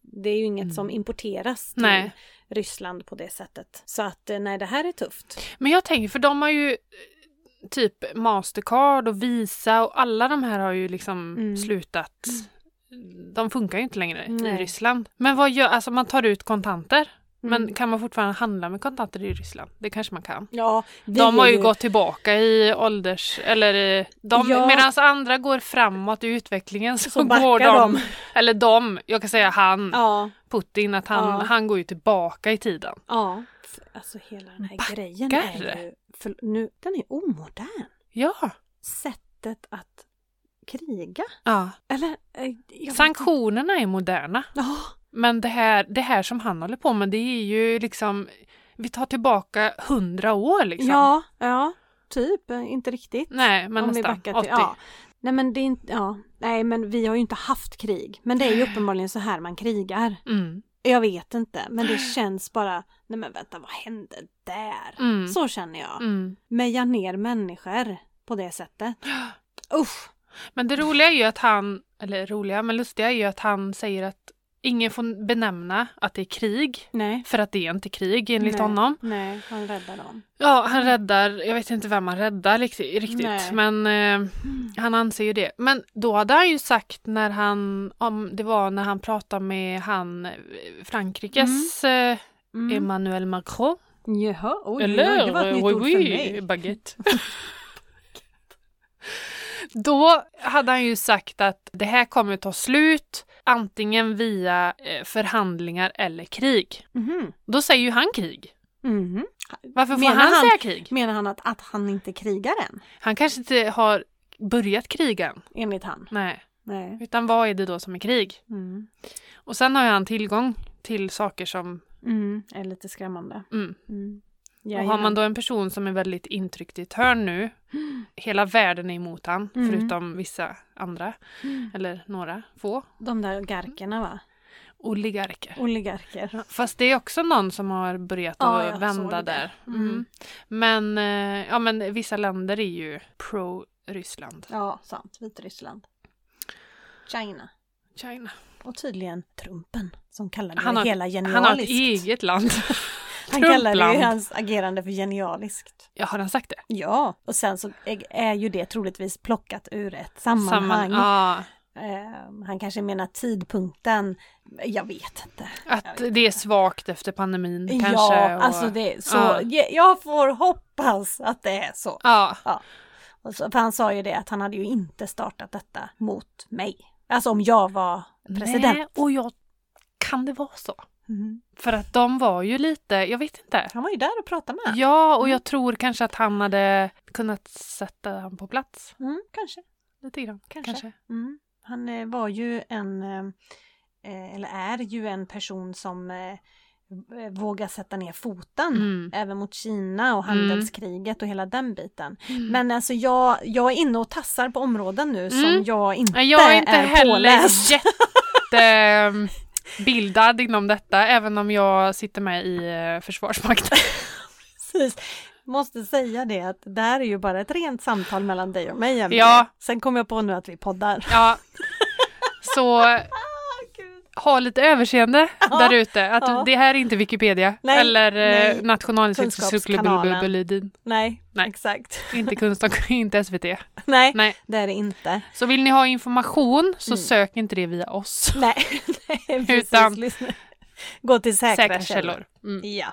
det är ju inget som importeras till Mm. Nej. Ryssland på det sättet. Så att eh, nej, det här är tufft. Men jag tänker, för de har ju eh, typ Mastercard och Visa och alla de här har ju liksom Mm. slutat. De funkar ju inte längre Nej. i Ryssland. Men vad gör, alltså man tar ut kontanter. Mm. Men kan man fortfarande handla med kontanter i Ryssland? Det kanske man kan. Ja, vi De har är ju gått tillbaka i ålders... Eller i- de, Ja. medan andra går framåt i utvecklingen så, Så går backar de, de. Eller de, jag kan säga han, Ja, Putin, att han, Ja. han går ju tillbaka i tiden. ja. Alltså hela den här grejen Backar. är ju... För nu, den är omodern. Ja. Sättet att kriga. ja. Eller? eh, jag- Sanktionerna är moderna. Ja, Men det här, det här som han håller på med det är ju liksom... Vi tar tillbaka hundra år liksom. ja, ja. Typ, eh, inte riktigt. Nej, men Om vi nästan. backar 80. till, ja. Nej men det är inte, ja. Nej men vi har ju inte haft krig. Men det är ju uppenbarligen så här man krigar. Mm. Jag vet inte, men det känns bara, nej men vänta vad hände där? Mm. Så känner jag. Mm. Meja ner människor på det sättet. Usch! Men det roliga är ju att han, eller roliga, men lustiga är ju att han säger att ingen får benämna att det är krig. Nej. För att det är inte krig enligt nej, honom. Nej, han räddar dem. Ja, han räddar, jag vet inte vem han räddar riktigt, riktigt Nej. Mm. men eh, han anser ju det. Men då hade han ju sagt när han, om det var när han pratade med han, eh, Frankrikes eh, Mm. Emmanuel Macron. Jaha, oj, oj, oj, det Eller var ett nytt ord för oui, oui, mig. baguette. Då hade han ju sagt att det här kommer ta slut antingen via eh, förhandlingar eller krig. Mhm. Då säger ju han krig. Mhm. Varför får Menar han, han- säga krig? Menar han att, att han inte krigar än? Han kanske inte har börjat krigen. Enligt han? Nej, Nej. utan vad är det då som är krig? Mm. Och sen har ju han tillgång till saker som... Mm. Är lite skrämmande. Mm. Mm. Och har man då en person som är väldigt intryckt i ett hörn nu, hela världen är emot han, Mm. förutom vissa andra, Mm. eller några få, De där garkerna va? oligarker. Oligarker. Fast det är också någon som har börjat Ja, att jag såg vända det. där. Mm. Mm. Men, eh, ja, men vissa länder är ju pro-Ryssland. Ja, sant. Vitryssland. China. China. Och tydligen Trumpen som kallar det Han har- hela Han har ett genialiskt. eget land. Han kallar ju Trumpland. hans agerande för genialiskt. Ja, har han sagt det? Ja, och sen så är- är ju det troligtvis plockat ur ett sammanhang. ja, Eh, han kanske menar tidpunkten, jag vet inte. att det är svagt efter pandemin kanske. ja, och- alltså det är så, Ja. jag- jag får hoppas att det är så. Ja, Och så. För han sa ju det att han hade ju inte startat detta mot mig. Alltså om jag var president. Nej, och jag... Kan det vara så? Mhm. För att de var ju lite, jag vet inte. Han var ju där och pratade med. Ja, och jag tror kanske att han hade kunnat sätta han på plats Mm, kanske. lite grann. Kanske. Mm. Han eh, var ju en, eh, eh, eller är ju en person som eh, v- vågar sätta ner foten. Mm. Även mot Kina och Mm. handelskriget och hela den biten. Mm. Men alltså jag, jag är inne och tassar på områden nu som Mm. jag inte, Nej, jag är inte heller påläst. jättebildad inom detta, även om jag sitter med i eh, Försvarsmakten. Precis. Måste säga det att det här är ju bara ett rent samtal mellan dig och mig Emelie. Ja. Sen kom jag på nu att vi poddar. Ja. Så Ah, ha lite överseende där ute. Att ja. Det här är inte Wikipedia Nej, eller eh, nej. Kunskapskanalen. Nationalencyklopedin. Nej, Nej. exakt. Inte kunskap, inte SVT. Nej, Nej. det är det inte. Så vill ni ha information så Mm. sök inte det via oss. Nej, nej precis. Utan- Lyssna. Gå till säkra, Säkra källor. källor. Mm. Ja.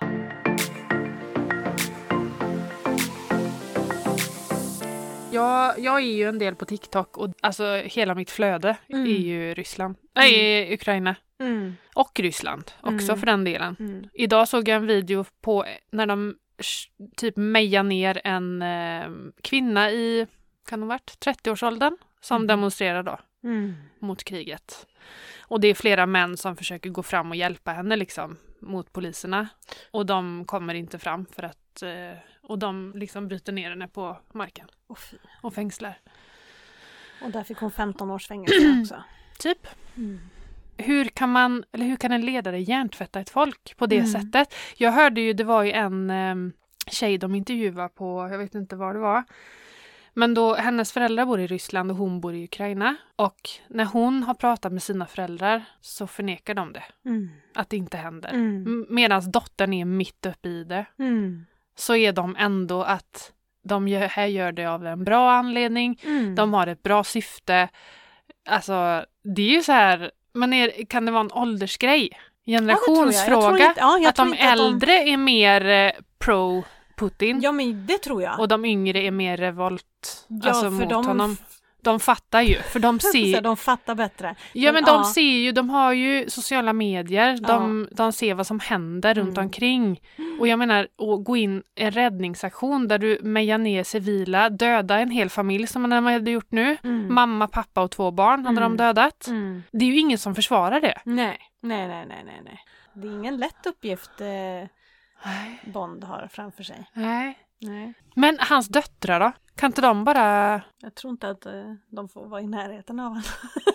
Jag, jag är ju en del på TikTok och alltså hela mitt flöde är Mm. ju Ryssland. Nej, Ukraina. Mm. Och Ryssland också Mm. för den delen. Mm. Idag såg jag en video på när de sh- typ mejar ner en eh, kvinna i, kan hon varit, 30-årsåldern som Mm. demonstrerar då Mm. mot kriget. Och det är flera män som försöker gå fram och hjälpa henne liksom mot poliserna. Och de kommer inte fram för att, eh, och de liksom bryter ner henne på marken Åh, fy. och fängslar. Och där fick hon 15 års fängelse också. Typ. Mm. Hur kan man, eller hur kan en ledare hjärntvätta ett folk på det Mm. sättet? Jag hörde ju, det var ju en eh, tjej de intervjuade på, jag vet inte var det var. Men då, hennes föräldrar bor i Ryssland och hon bor i Ukraina. Och när hon har pratat med sina föräldrar så förnekar de det, Mm. att det inte händer. Mm. Medan dottern är mitt uppe i det, Mm. så är de ändå att de gör, här gör det av en bra anledning, Mm. de har ett bra syfte. Alltså, det är ju så här, men är, kan det vara en åldersgrej? generationsfråga. Ja, det tror jag. Jag tror inte- ja, jag att tror de inte att de- äldre är mer eh, pro Putin Ja men det tror jag. och de yngre är mer revolt Ja, alltså, för mot de- honom. De fattar ju, för de ser Så de fattar bättre. Ja men de ja. ser ju, de har ju sociala medier, de, de ser vad som händer runt Mm. omkring. Och jag menar, att gå in i en räddningsaktion där du mejar ner civila, döda en hel familj som de hade gjort nu. Mm. Mamma, pappa och två barn hade Mm. de dödat. Mm. Det är ju ingen som försvarar det. Nej. nej, nej, nej, nej, nej. Det är ingen lätt uppgift eh, Nej. Bond har framför sig. Nej. Men hans döttrar då? Kan inte de bara... Jag tror inte att eh, de får vara i närheten av honom.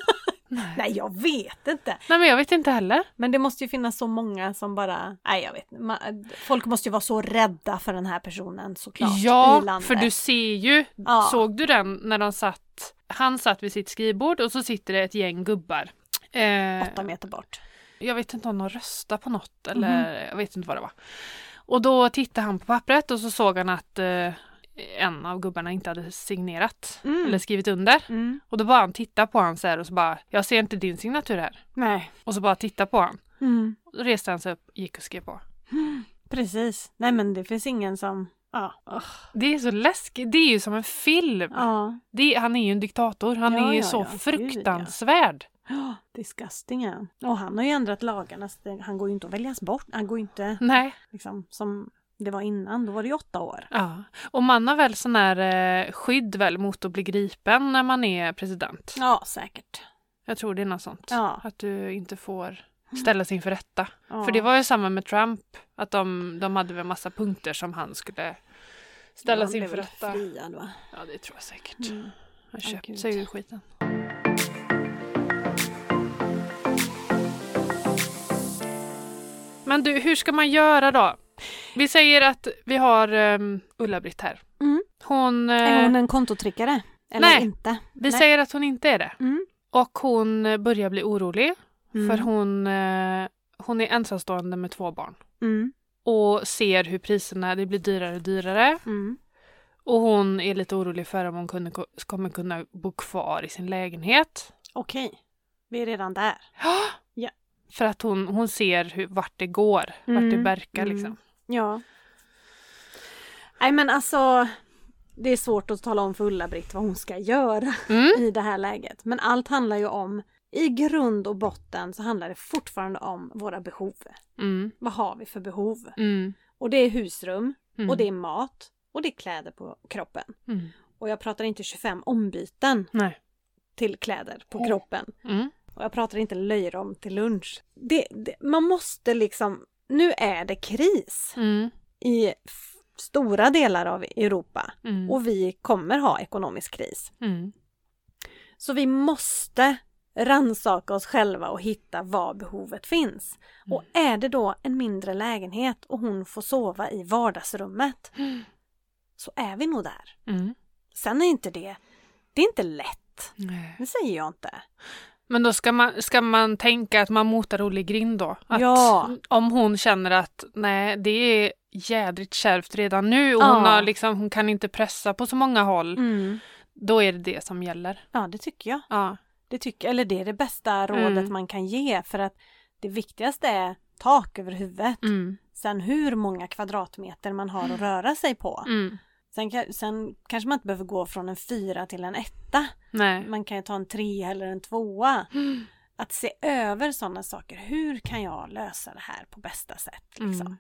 nej, jag vet inte. Nej men jag vet inte heller. Men det måste ju finnas så många som bara, nej jag vet inte. Ma- Folk måste ju vara så rädda för den här personen såklart. i Ja, landet. för du ser ju. Ja. Såg du den när de satt... Han satt vid sitt skrivbord och så sitter det ett gäng gubbar. Eh, Åtta meter bort. jag vet inte om de röstade på något Mhm. eller jag vet inte vad det var. Och då tittade han på pappret och så såg han att eh, en av gubbarna inte hade signerat Mm. eller skrivit under. Och då bara han titta på han så här och så bara, jag ser inte din signatur här. Nej. Och så bara titta på han. Mm. Då reste han sig upp, gick och skrev på. Precis. Nej men det finns ingen som, ja. Det är så läskigt, det är ju som en film. Ja. Det, han är ju en diktator, han Ja, är ju ja, så ja. Gud, ja. fruktansvärd. Oh, disgusting är han. Och han har ju ändrat lagarna så det, han går ju inte att väljas bort. Han går ju inte Nej. liksom som det var innan, då var det ju åtta år. Ja. Och man har väl sån här eh, skydd väl mot att bli gripen när man är president. Ja, säkert. Jag tror det är något sånt. Ja. Mm. Att du inte får ställas inför rätta. Ja. För det var ju samma med Trump, att de, de hade väl massa punkter som han skulle ställas Han blev inför väl rätta. friad, va? Ja, det tror jag säkert. Mm. Han Åh, köpte gud. sig ur skiten. Men du, hur ska man göra då? Vi säger att vi har ehm, Ulla-Britt här. Mm. Hon, eh, Är hon en kontotrickare? Eller nej. inte? vi Nej. säger att hon inte är det. Mm. Och hon eh, börjar bli orolig Mm. för hon, eh, hon är ensamstående med två barn Mm. och ser hur priserna det blir dyrare och dyrare. Mm. Och hon är lite orolig för om hon kunde, ko- kommer kunna bo kvar i sin lägenhet. Okej, vi är redan där. Ja. För att hon, hon ser hur, vart det går, vart det Mm, verkar mm. liksom. Ja. Nej men alltså, det är svårt att tala om för Ulla-Britt vad hon ska göra Mm. i det här läget. Men allt handlar ju om, i grund och botten så handlar det fortfarande om våra behov. Mm. Vad har vi för behov? Mm. Och det är husrum, Mm. och det är mat, och det är kläder på kroppen. Mm. Och jag pratar inte 25 ombyten Nej. till kläder på Mm. kroppen. Mm. Och jag pratar inte löjrom till lunch. Det, det, man måste liksom, nu är det kris Mm. i f- stora delar av Europa Mm. och vi kommer ha ekonomisk kris. Mm. Så vi måste rannsaka oss själva och hitta var behovet finns. Mm. Och är det då en mindre lägenhet och hon får sova i vardagsrummet så är vi nog där. Mm. Sen är inte det, det är inte lätt. Nej. Det säger jag inte. Men då ska man, ska man tänka att man motar Olle i grind då? Att Ja. Om hon känner att nej, det är jädrigt kärvt redan nu och Ja. Mm. hon, har liksom, hon kan inte pressa på så många håll, då är det det som gäller. Ja, det tycker jag. Ja. Det tycker, eller det är det bästa rådet Mm. man kan ge för att det viktigaste är tak över huvudet. Mm. Sen hur många kvadratmeter man har att röra sig på. Mm. Sen, ka- sen kanske man inte behöver gå från en fyra till en etta. Nej. Man kan ju ta en trea eller en tvåa. Mm. Att se över sådana saker. Hur kan jag lösa det här på bästa sätt? Liksom?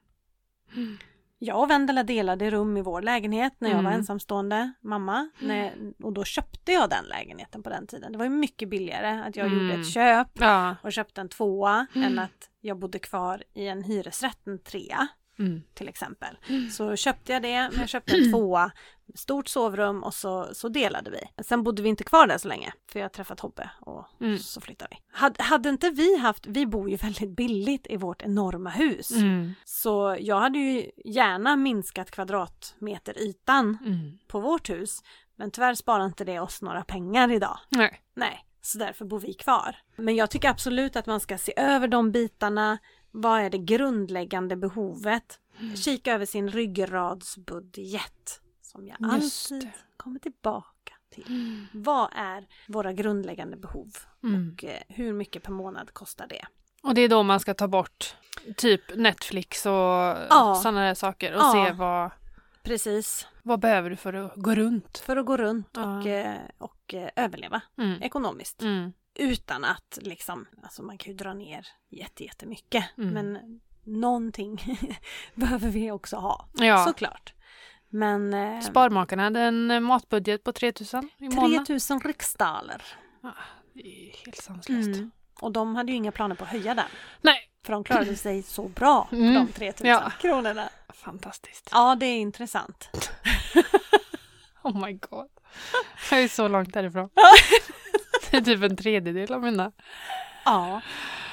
Mm. Jag och Vendela delade rum i vår lägenhet när jag var Mm. ensamstående mamma. När, och då köpte jag den lägenheten på den tiden. Det var ju mycket billigare att jag gjorde Mm. ett köp Ja. och köpte en tvåa än att jag bodde kvar i en hyresrätt, en trea Mm. till exempel. Så köpte jag det, men jag köpte en tvåa, stort sovrum och så, så delade vi. Sen bodde vi inte kvar där så länge, för jag har träffat Hobbe och Mm. så flyttade vi. Hade, hade inte vi haft, vi bor ju väldigt billigt i vårt enorma hus, Mm. så jag hade ju gärna minskat kvadratmeterytan Mm. på vårt hus, men tyvärr sparar inte det oss några pengar idag. Nej. Nej, så därför bor vi kvar. Men jag tycker absolut att man ska se över de bitarna. Vad är det grundläggande behovet? Mm. Kika över sin ryggradsbudget som jag Just alltid det. kommer tillbaka till. Vad är våra grundläggande behov? Mm. Och eh, hur mycket per månad kostar det? Och det är då man ska ta bort typ Netflix och Ja. sådana där saker och Ja. se vad, Precis, vad behöver du för att gå runt. för att gå runt Ja. och, eh, och eh, överleva Mm. ekonomiskt. Mm. Utan att liksom, alltså man kan ju dra ner jätte- jättemycket Mm. men någonting behöver vi också ha, Ja. såklart. Men eh, Sparmakarna hade en eh, matbudget på 3000 i månaden. 3000 riksdaler. Det är Helt sanslöst. Och de hade ju inga planer på att höja den. Nej, För de klarade sig så bra på Mm. de 3000 Ja. kronorna. fantastiskt. Ja, det är intressant. Oh my god. Jag är så långt därifrån. Det är typ en tredjedel av mina. Ja,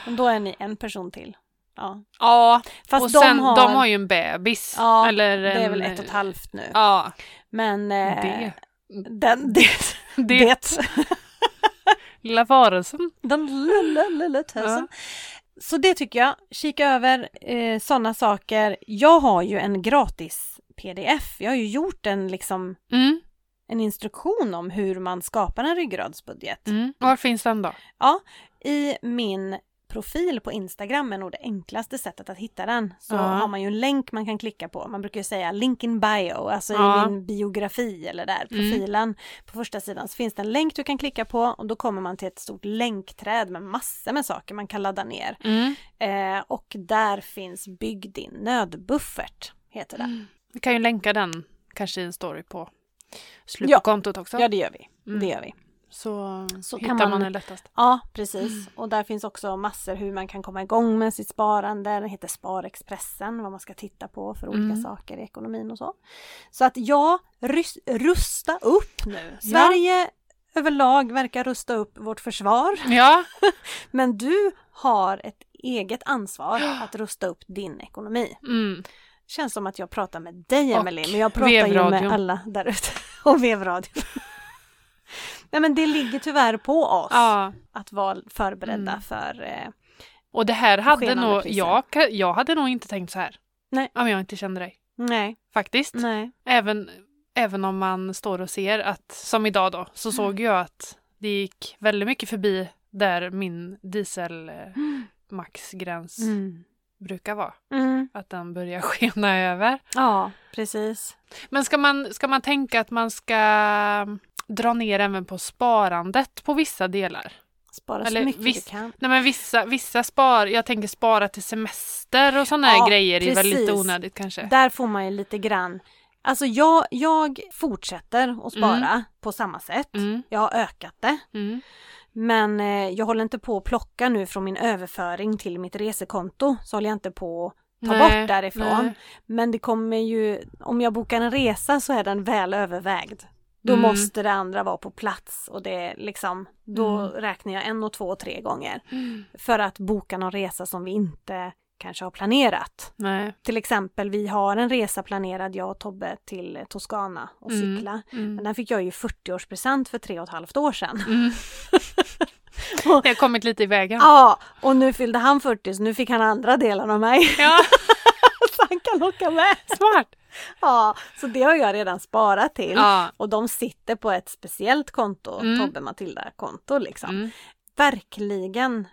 men då är ni en person till. Ja, Ja, fast och de, sen, har, de har ju en bebis. Ja, eller det är en- väl ett och ett halvt nu. Ja, Men eh, det. den, det, Det, det, lilla varelsen. den lilla, lilla tösen. Så det tycker jag, kika över eh, sådana saker. Jag har ju en gratis pdf, jag har ju gjort en liksom Mm, en instruktion om hur man skapar en ryggradsbudget. mm. Var finns den då? Ja, i min profil på Instagram är nog det enklaste sättet att hitta den. Så Ja. har man ju en länk man kan klicka på. Man brukar ju säga link in bio, alltså Ja. Mm. i min biografi eller där, profilen. På första sidan så finns det en länk du kan klicka på och då kommer man till ett stort länkträd med massor med saker man kan ladda ner. Mm. Eh, och där finns Bygg din nödbuffert, heter det. Vi kan ju länka den kanske i en story på Ja. slutkontot också. Ja, det gör vi. Mm. Det gör vi. Så, Så hittar kan man... man- den lättast. Ja, Mm. precis. Och där finns också massor hur man kan komma igång med sitt sparande. Den heter Sparexpressen, vad man ska titta på för olika Mm. saker i ekonomin och så. Så att ja, rys- rusta upp nu. Sverige överlag verkar rusta upp vårt försvar. Ja, Men du har ett eget ansvar att rusta upp din ekonomi. mm. Känns som att jag pratar med dig Och Emelie, men jag pratar ju med vevradion. alla där ute. Och vevradion. Nej men det ligger tyvärr på oss ja. att vara förberedda Mm. för... Eh, Och det här hade Skenande nog, priser. jag, ka- jag hade nog inte tänkt så här. Nej. Om jag inte kände dig. nej, Faktiskt. nej. Även, även om man står och ser att, som idag då, så såg Mm. jag att det gick väldigt mycket förbi där min diesel eh, maxgräns Mm. brukar vara. Mm. Att den börjar skena över. Ja, precis. Men ska man, ska man tänka att man ska dra ner även på sparandet på vissa delar? Spara Eller så mycket visst- du kan. Nej men vissa, vissa spar, jag tänker spara till semester och sådana Ja, här grejer är väl lite precis. onödigt kanske. Där får man ju lite grann... Alltså jag, jag fortsätter att spara på samma sätt. Mm, Jag har ökat det. mm, Men eh, jag håller inte på att plocka nu från min överföring till mitt resekonto. Så håller jag inte på att ta Nej, bort därifrån. nej. Men det kommer ju... Om jag bokar en resa så är den väl övervägd. Då Mm. måste det andra vara på plats och det är liksom... Då Mm. räknar jag en och två och tre gånger. För att boka någon resa som vi inte kanske har planerat. nej. Till exempel, vi har en resa planerad, jag och Tobbe, till Toscana och Mm. cykla. Mm. Men den fick jag ju 40-årspresent för tre och ett halvt år sedan. Mm. Det har kommit lite i vägen. Ja, och nu fyllde han 40 så nu fick han andra delen av mig. Ja, så han kan åka med. smart. Ja, så det har jag redan sparat till. Ja. Och de sitter på ett speciellt konto, Mm. Tobbe Matilda-konto liksom. Mm. Verkligen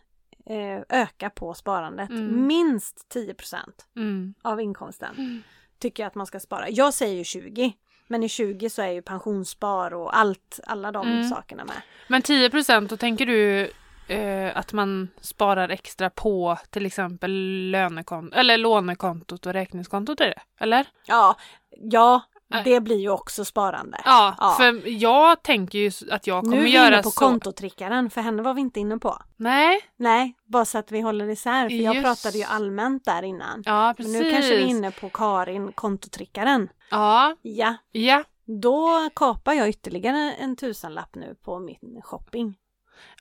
eh, öka på sparandet. Mm. Minst 10 procent. Mm. av inkomsten Mm. tycker jag att man ska spara. Jag säger ju 20, men i 20 så är ju pensionsspar och allt, alla de Mm. sakerna med. Men 10 procent, då tänker du eh, att man sparar extra på till exempel lönekont- eller lånekontot och räkningskontot? Är det? Eller? Ja, ja, Nej. det blir ju också sparande. Äh. Ja, Ja. för jag tänker ju att jag nu är kommer vi inne göra på så. kontotrickaren, för henne var vi inte inne på. Nej, Nej, bara så att vi håller isär, för jag Just. pratade ju allmänt där innan. ja Men precis. nu kanske vi är inne på Karin, kontotrickaren. Ja, Ja, ja. då kapar jag ytterligare en tusenlapp nu på min shopping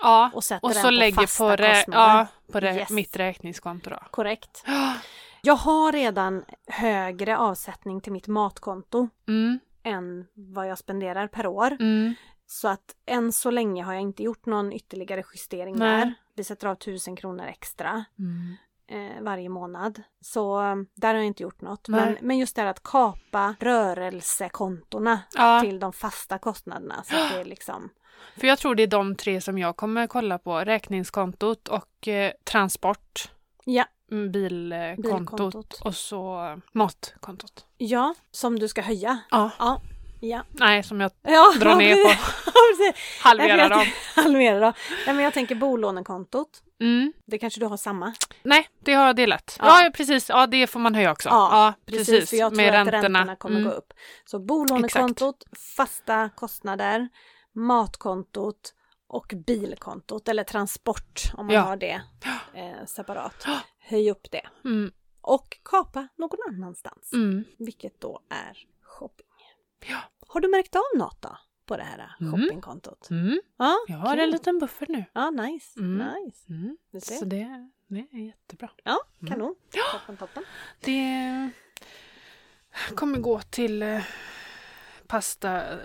ja. och sätter Och den så på lägger fasta på, rä- kostnader. ja, på rä- Yes. mitt räkningskonto då. Korrekt. Jag har redan högre avsättning till mitt matkonto Mm, än vad jag spenderar per år. mm, Så att än så länge har jag inte gjort någon ytterligare justering Nej. där. Vi sätter av 1000 kronor extra. mm. eh, varje månad. Så eh, där har jag inte gjort något. Nej. Men, men just det här att kapa rörelsekontona Ja, till de fasta kostnaderna. Så att det är liksom, för jag tror det är de tre som jag kommer kolla på. Räkningskontot och eh, transport. Ja. Mm, Bilkontot. Bilkontot. Och så eh, matkontot. ja, som du ska höja. Ja. Ja, Nej, som jag ja drar ner på. precis. halverar Jag dem. Halvera då. Nej, men jag tänker bolånekontot. Mm. Det kanske du har samma? Nej, det har jag delat. Ja. Ja. precis. Ja, det får man höja också. Ja, Ja, Precis, precis. för jag tror Med att räntorna, kommer Mm. gå upp. Så bolånekontot, fasta kostnader, matkontot och bilkontot eller transport om man Ja. har det eh, separat. Höj upp det Mm. och kapa någon annanstans, Mm. vilket då är shopping. Ja. Har du märkt av något då på det här Mm. shoppingkontot? Mm. Ja, Jag har kul. en liten buffert nu. Ja, nice. Mm. nice. Mm. Du Så ser. det, det är jättebra. Ja, Mm. kanon. Toppen, toppen. Det kommer gå till eh, pasta, eh,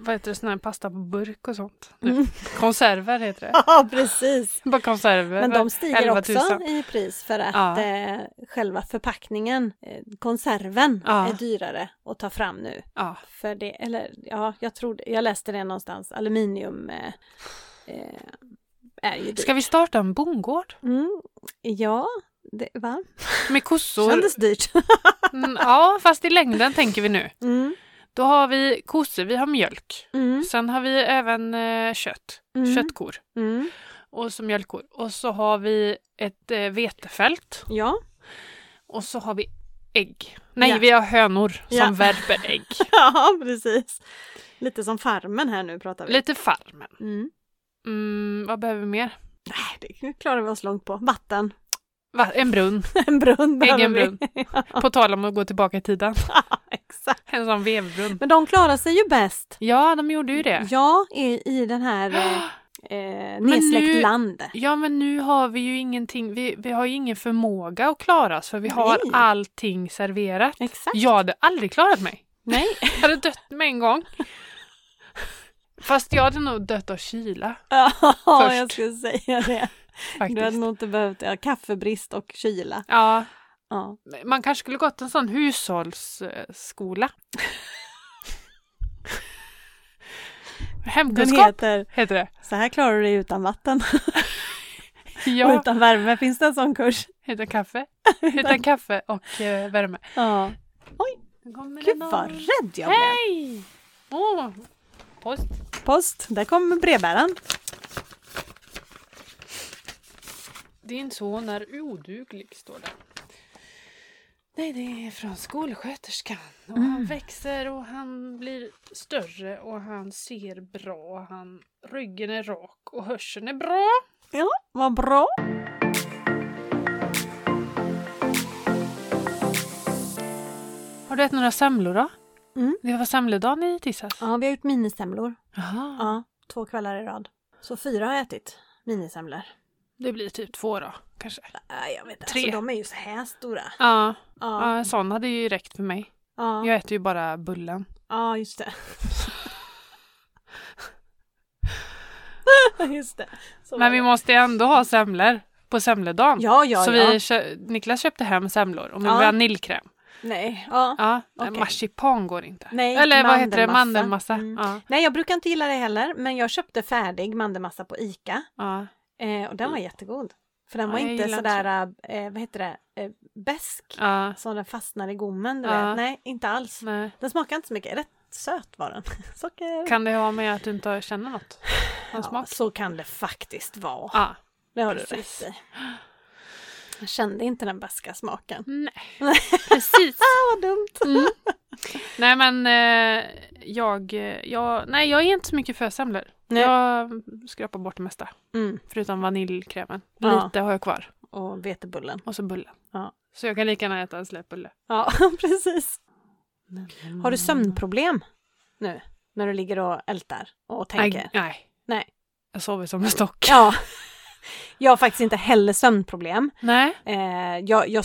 vad heter det, sån här pasta på burk och sånt. Nu. Konserver heter det. Ja, precis. Bara konserver. Men de stiger 11 000. också i pris för att Ja. eh, själva förpackningen, eh, konserven, Ja. är dyrare att ta fram nu. Ja. För det, eller ja, jag tror, det- jag läste det någonstans, aluminium eh, eh, är ju dyrt. Ska vi starta en bondgård? Mm, ja, det, va? Med kossor? Kändes dyrt. Mm, ja, fast i längden tänker vi nu. Mm, Då har vi kossor, vi har mjölk. mm, Sen har vi även eh, kött, Mm. köttkor mm. och så mjölkkor. Och så har vi ett eh, vetefält Ja, och så har vi ägg. Nej, Ja. vi har hönor som Ja. värper ägg. ja, precis. Lite som farmen här nu pratar vi. Lite Farmen. Mm. Mm, vad behöver vi mer? Nej, det klarar vi oss långt på. Vatten, Va, en brunn. en brunn behöver Egen vi. brunn. På tal om att gå tillbaka i tiden. Ja, exakt. En sån vevbrunn. Men de klarar sig ju bäst Ja, de gjorde ju det. Ja, i, i den här eh, eh, nedsläckt nu- land. Ja, men nu har vi ju ingenting. Vi, vi har ju ingen förmåga att klara oss för vi har Nej. allting serverat. Exakt. Jag hade aldrig klarat mig. Nej. Jag hade dött med en gång. Fast jag hade nog dött av kyla Ja, jag Först. skulle säga det. Du hade faktiskt. nog inte behövt ja, kaffebrist och kyla. Ja, Ja. man kanske skulle gått en sån hushållsskola. Den Hemkunskap heter heter det. Så här klarar du dig utan vatten och Ja, utan värme. Finns det en sån kurs? utan kaffe. Utan kaffe och eh, värme. Ja. Nu kommer det Gud någon. vad rädd jag blev. Hej! Åh, post. Post, där kommer brevbäraren. Din son är oduglig, står det. Nej, det är från skolsköterskan. Och Mm. Han växer och han blir större och han ser bra. Han, ryggen är rak och hörseln är bra. Ja, vad bra. Har du ätit några semlor då? Mm. Det var semledagen i tisdags. Ja, vi har gjort minisemlor. Jaha. Ja, två kvällar i rad. Så fyra har jag ätit minisemlor. Det blir typ två då, kanske. Äh, jag vet inte, Tre. alltså, de är ju så här stora. Ja, Ja, ja. en sån hade ju räckt för mig. ja. Jag äter ju bara bullen. Ja, just det. just det. Så var Men vi det. måste ju ändå ha semlor på semledagen. Ja, ja, så ja. vi kö- Niklas köpte hem semlor och med Ja. vaniljkräm. Nej, ja. Ja, Okej. marsipan går inte. Nej, Eller vad heter det? mandelmassa. Mandelmassa. Mm. Ja, Nej, jag brukar inte gilla det heller, men jag köpte färdig mandelmassa på ICA ja. eh, och den var jättegod. För den Ja, var jag inte gillar sådär, eh, vad heter det, eh, bäsk ja. så den fastnar i gommen, du Ja. vet. Nej, inte alls. Nej. Den smakar inte så mycket. Rätt söt var den. Socker. Kan det ha med att du inte känner något? Någon ja, smak? så kan det faktiskt vara. Ja. det har du precis. rätt i. Jag kände inte den bäska smaken. Nej, precis. Ah, vad dumt! Nej men eh, jag, jag, nej, jag är inte så mycket för semlor. Nej. Jag skrapar bort det mesta. Mm. Förutom vaniljkrämen. Ja. Lite har jag kvar. Och vetebullen. Och så bullen. Ja. Så jag kan lika gärna äta en släpbulle. Ja, precis. Har Mm. du sömnproblem nu? När du ligger och ältar och tänker? Nej, nej. Nej. Jag sover som en stock. Ja. Jag har faktiskt inte heller sömnproblem. Nej. Eh, jag, jag,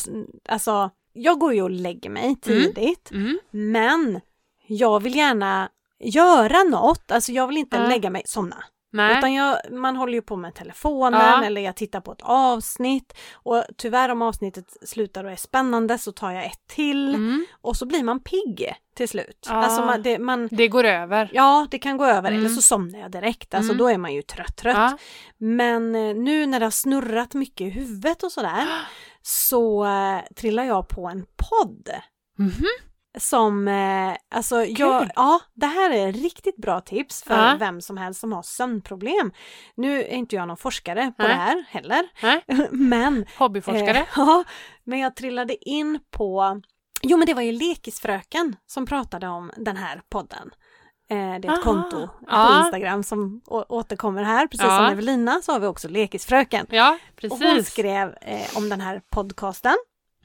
alltså, jag går ju och lägger mig tidigt, Mm. men jag vill gärna göra något. Alltså jag vill inte Ja. lägga mig, somna. Nej. Utan jag, man håller ju på med telefonen Ja. eller jag tittar på ett avsnitt och tyvärr om avsnittet slutar och är spännande så tar jag ett till Mm. och så blir man pigg till slut. Ja. Alltså man, det, man, Det går över. ja det kan gå över Mm. eller så somnar jag direkt, alltså Mm. då är man ju trött trött. Ja. Men eh, nu när det har snurrat mycket i huvudet och sådär så eh, trillar jag på en podd Mhm. som, eh, alltså jag, Kul. ja det här är ett riktigt bra tips för Ja. vem som helst som har sömnproblem. Nu är inte jag någon forskare på Nej. det här heller, Nej. men Hobbyforskare. Eh, ja, men jag trillade in på, jo men det var ju Lekisfröken som pratade om den här podden. Eh, Det är ett Aha. konto på Ja. Instagram som å- återkommer här, precis Ja. som Evelina så har vi också Lekisfröken. Ja, Och hon precis. skrev eh, om den här podcasten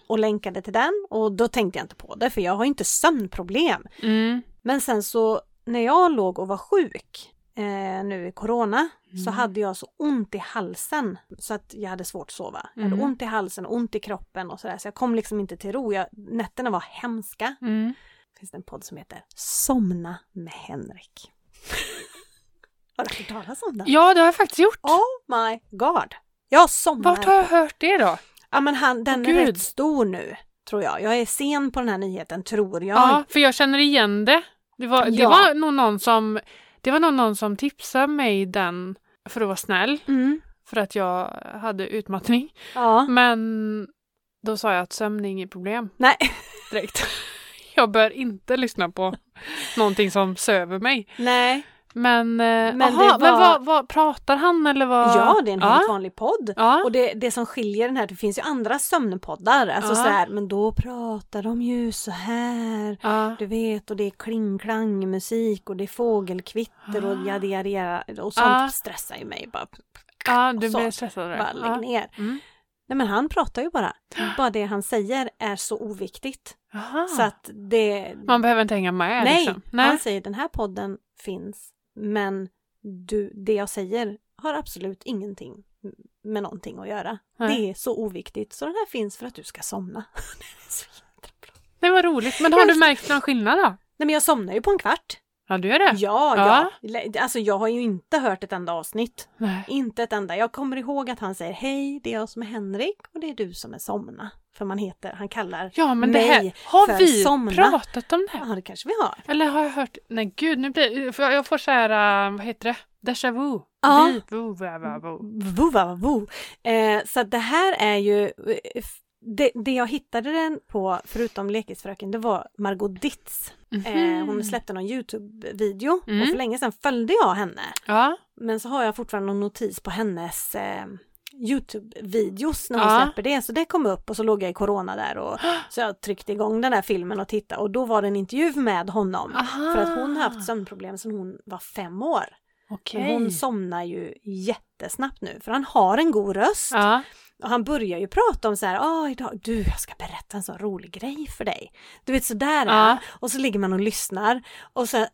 och länkade till den och då tänkte jag inte på det för jag har ju inte sömnproblem. Mm. Men sen så när jag låg och var sjuk eh, nu i corona Mm. så hade jag så ont i halsen så att jag hade svårt att sova. Jag hade Mm. ont i halsen och ont i kroppen och sådär så jag kom liksom inte till ro. Jag, nätterna var hemska. Mm. Det finns en podd som heter Somna med Henrik. har du hört talas om den? Ja, det har jag faktiskt gjort. Oh my god! Jag somnar. Vart har jag hört det då? Ja men han, den Åh, är gud. rätt stor nu tror jag. Jag är sen på den här nyheten tror jag. Ja, för jag känner igen det. Det var, det Ja. var nog någon som, det var nog någon som tipsade mig den för att vara snäll, Mm. för att jag hade utmattning. ja. Men då sa jag att sömn är inget problem Nej. direkt. Jag bör inte lyssna på någonting som söver mig. Nej. Men, men, Men aha, det var- men vad, vad pratar han eller vad? Ja, det är en ja. helt vanlig podd. Ja. Och det, det som skiljer den här, det finns ju andra sömnpoddar, alltså Ja. sådär, men då pratar de ju så här. Ja. Du vet, och det är klingklang musik och det är fågelkvitter och Ah. yada yada yada och sånt Ah. stressar ju mig. Bara, ja, du Så. blir stressad. av det. bara lägg Ja. ner. Mm. Ah. Nej men han pratar ju bara. Bara det han säger är så oviktigt. Aha. Så att det... Ah. Man behöver inte hänga med nej, Alltså, liksom. han säger den här podden finns men du, det jag säger har absolut ingenting med någonting att göra. Nej. Det är så oviktigt så den här finns för att du ska somna. Så jädra bra. Det var roligt. Men har du märkt någon skillnad då? Nej men jag somnar ju på en kvart. Ja, du gör det? Ja, Ja. ja. Le- Alltså jag har ju inte hört ett enda avsnitt. Nej. Inte ett enda. Jag kommer ihåg att han säger hej, det är jag som är Henrik och det är du som är Somna. För man heter, han kallar, Ja, men det här, Nej, har för vi somna. pratat om det? här? ja det kanske vi har. Eller har jag hört? Nej, gud, nu blir för jag, jag får så här, äh, vad heter det? Déjà vu. Ja. Mm. Vi, vu, vu, vu, vu. Vo, va, va, vo. Eh, så att det här är ju, eh, f- det, det jag hittade den på förutom Lekisfröken det var Margot Ditz. Mhm. Eh, hon släppte någon Youtube-video Mm. och för länge sedan följde jag henne. Ja, Men så har jag fortfarande någon notis på hennes eh, Youtube-videos när hon Ja. släpper det. Så det kom upp och så låg jag i corona där och så jag tryckte igång den där filmen och tittade och då var det en intervju med honom. Aha. För att hon har haft sömnproblem sedan hon var fem år. Men okej. Hon somnar ju jättesnabbt nu för han har en god röst. Ja, Och han börjar ju prata om så här, ah, idag, du jag ska berätta en sån rolig grej för dig. Du vet sådär. Ja. Och så ligger man och lyssnar och sen,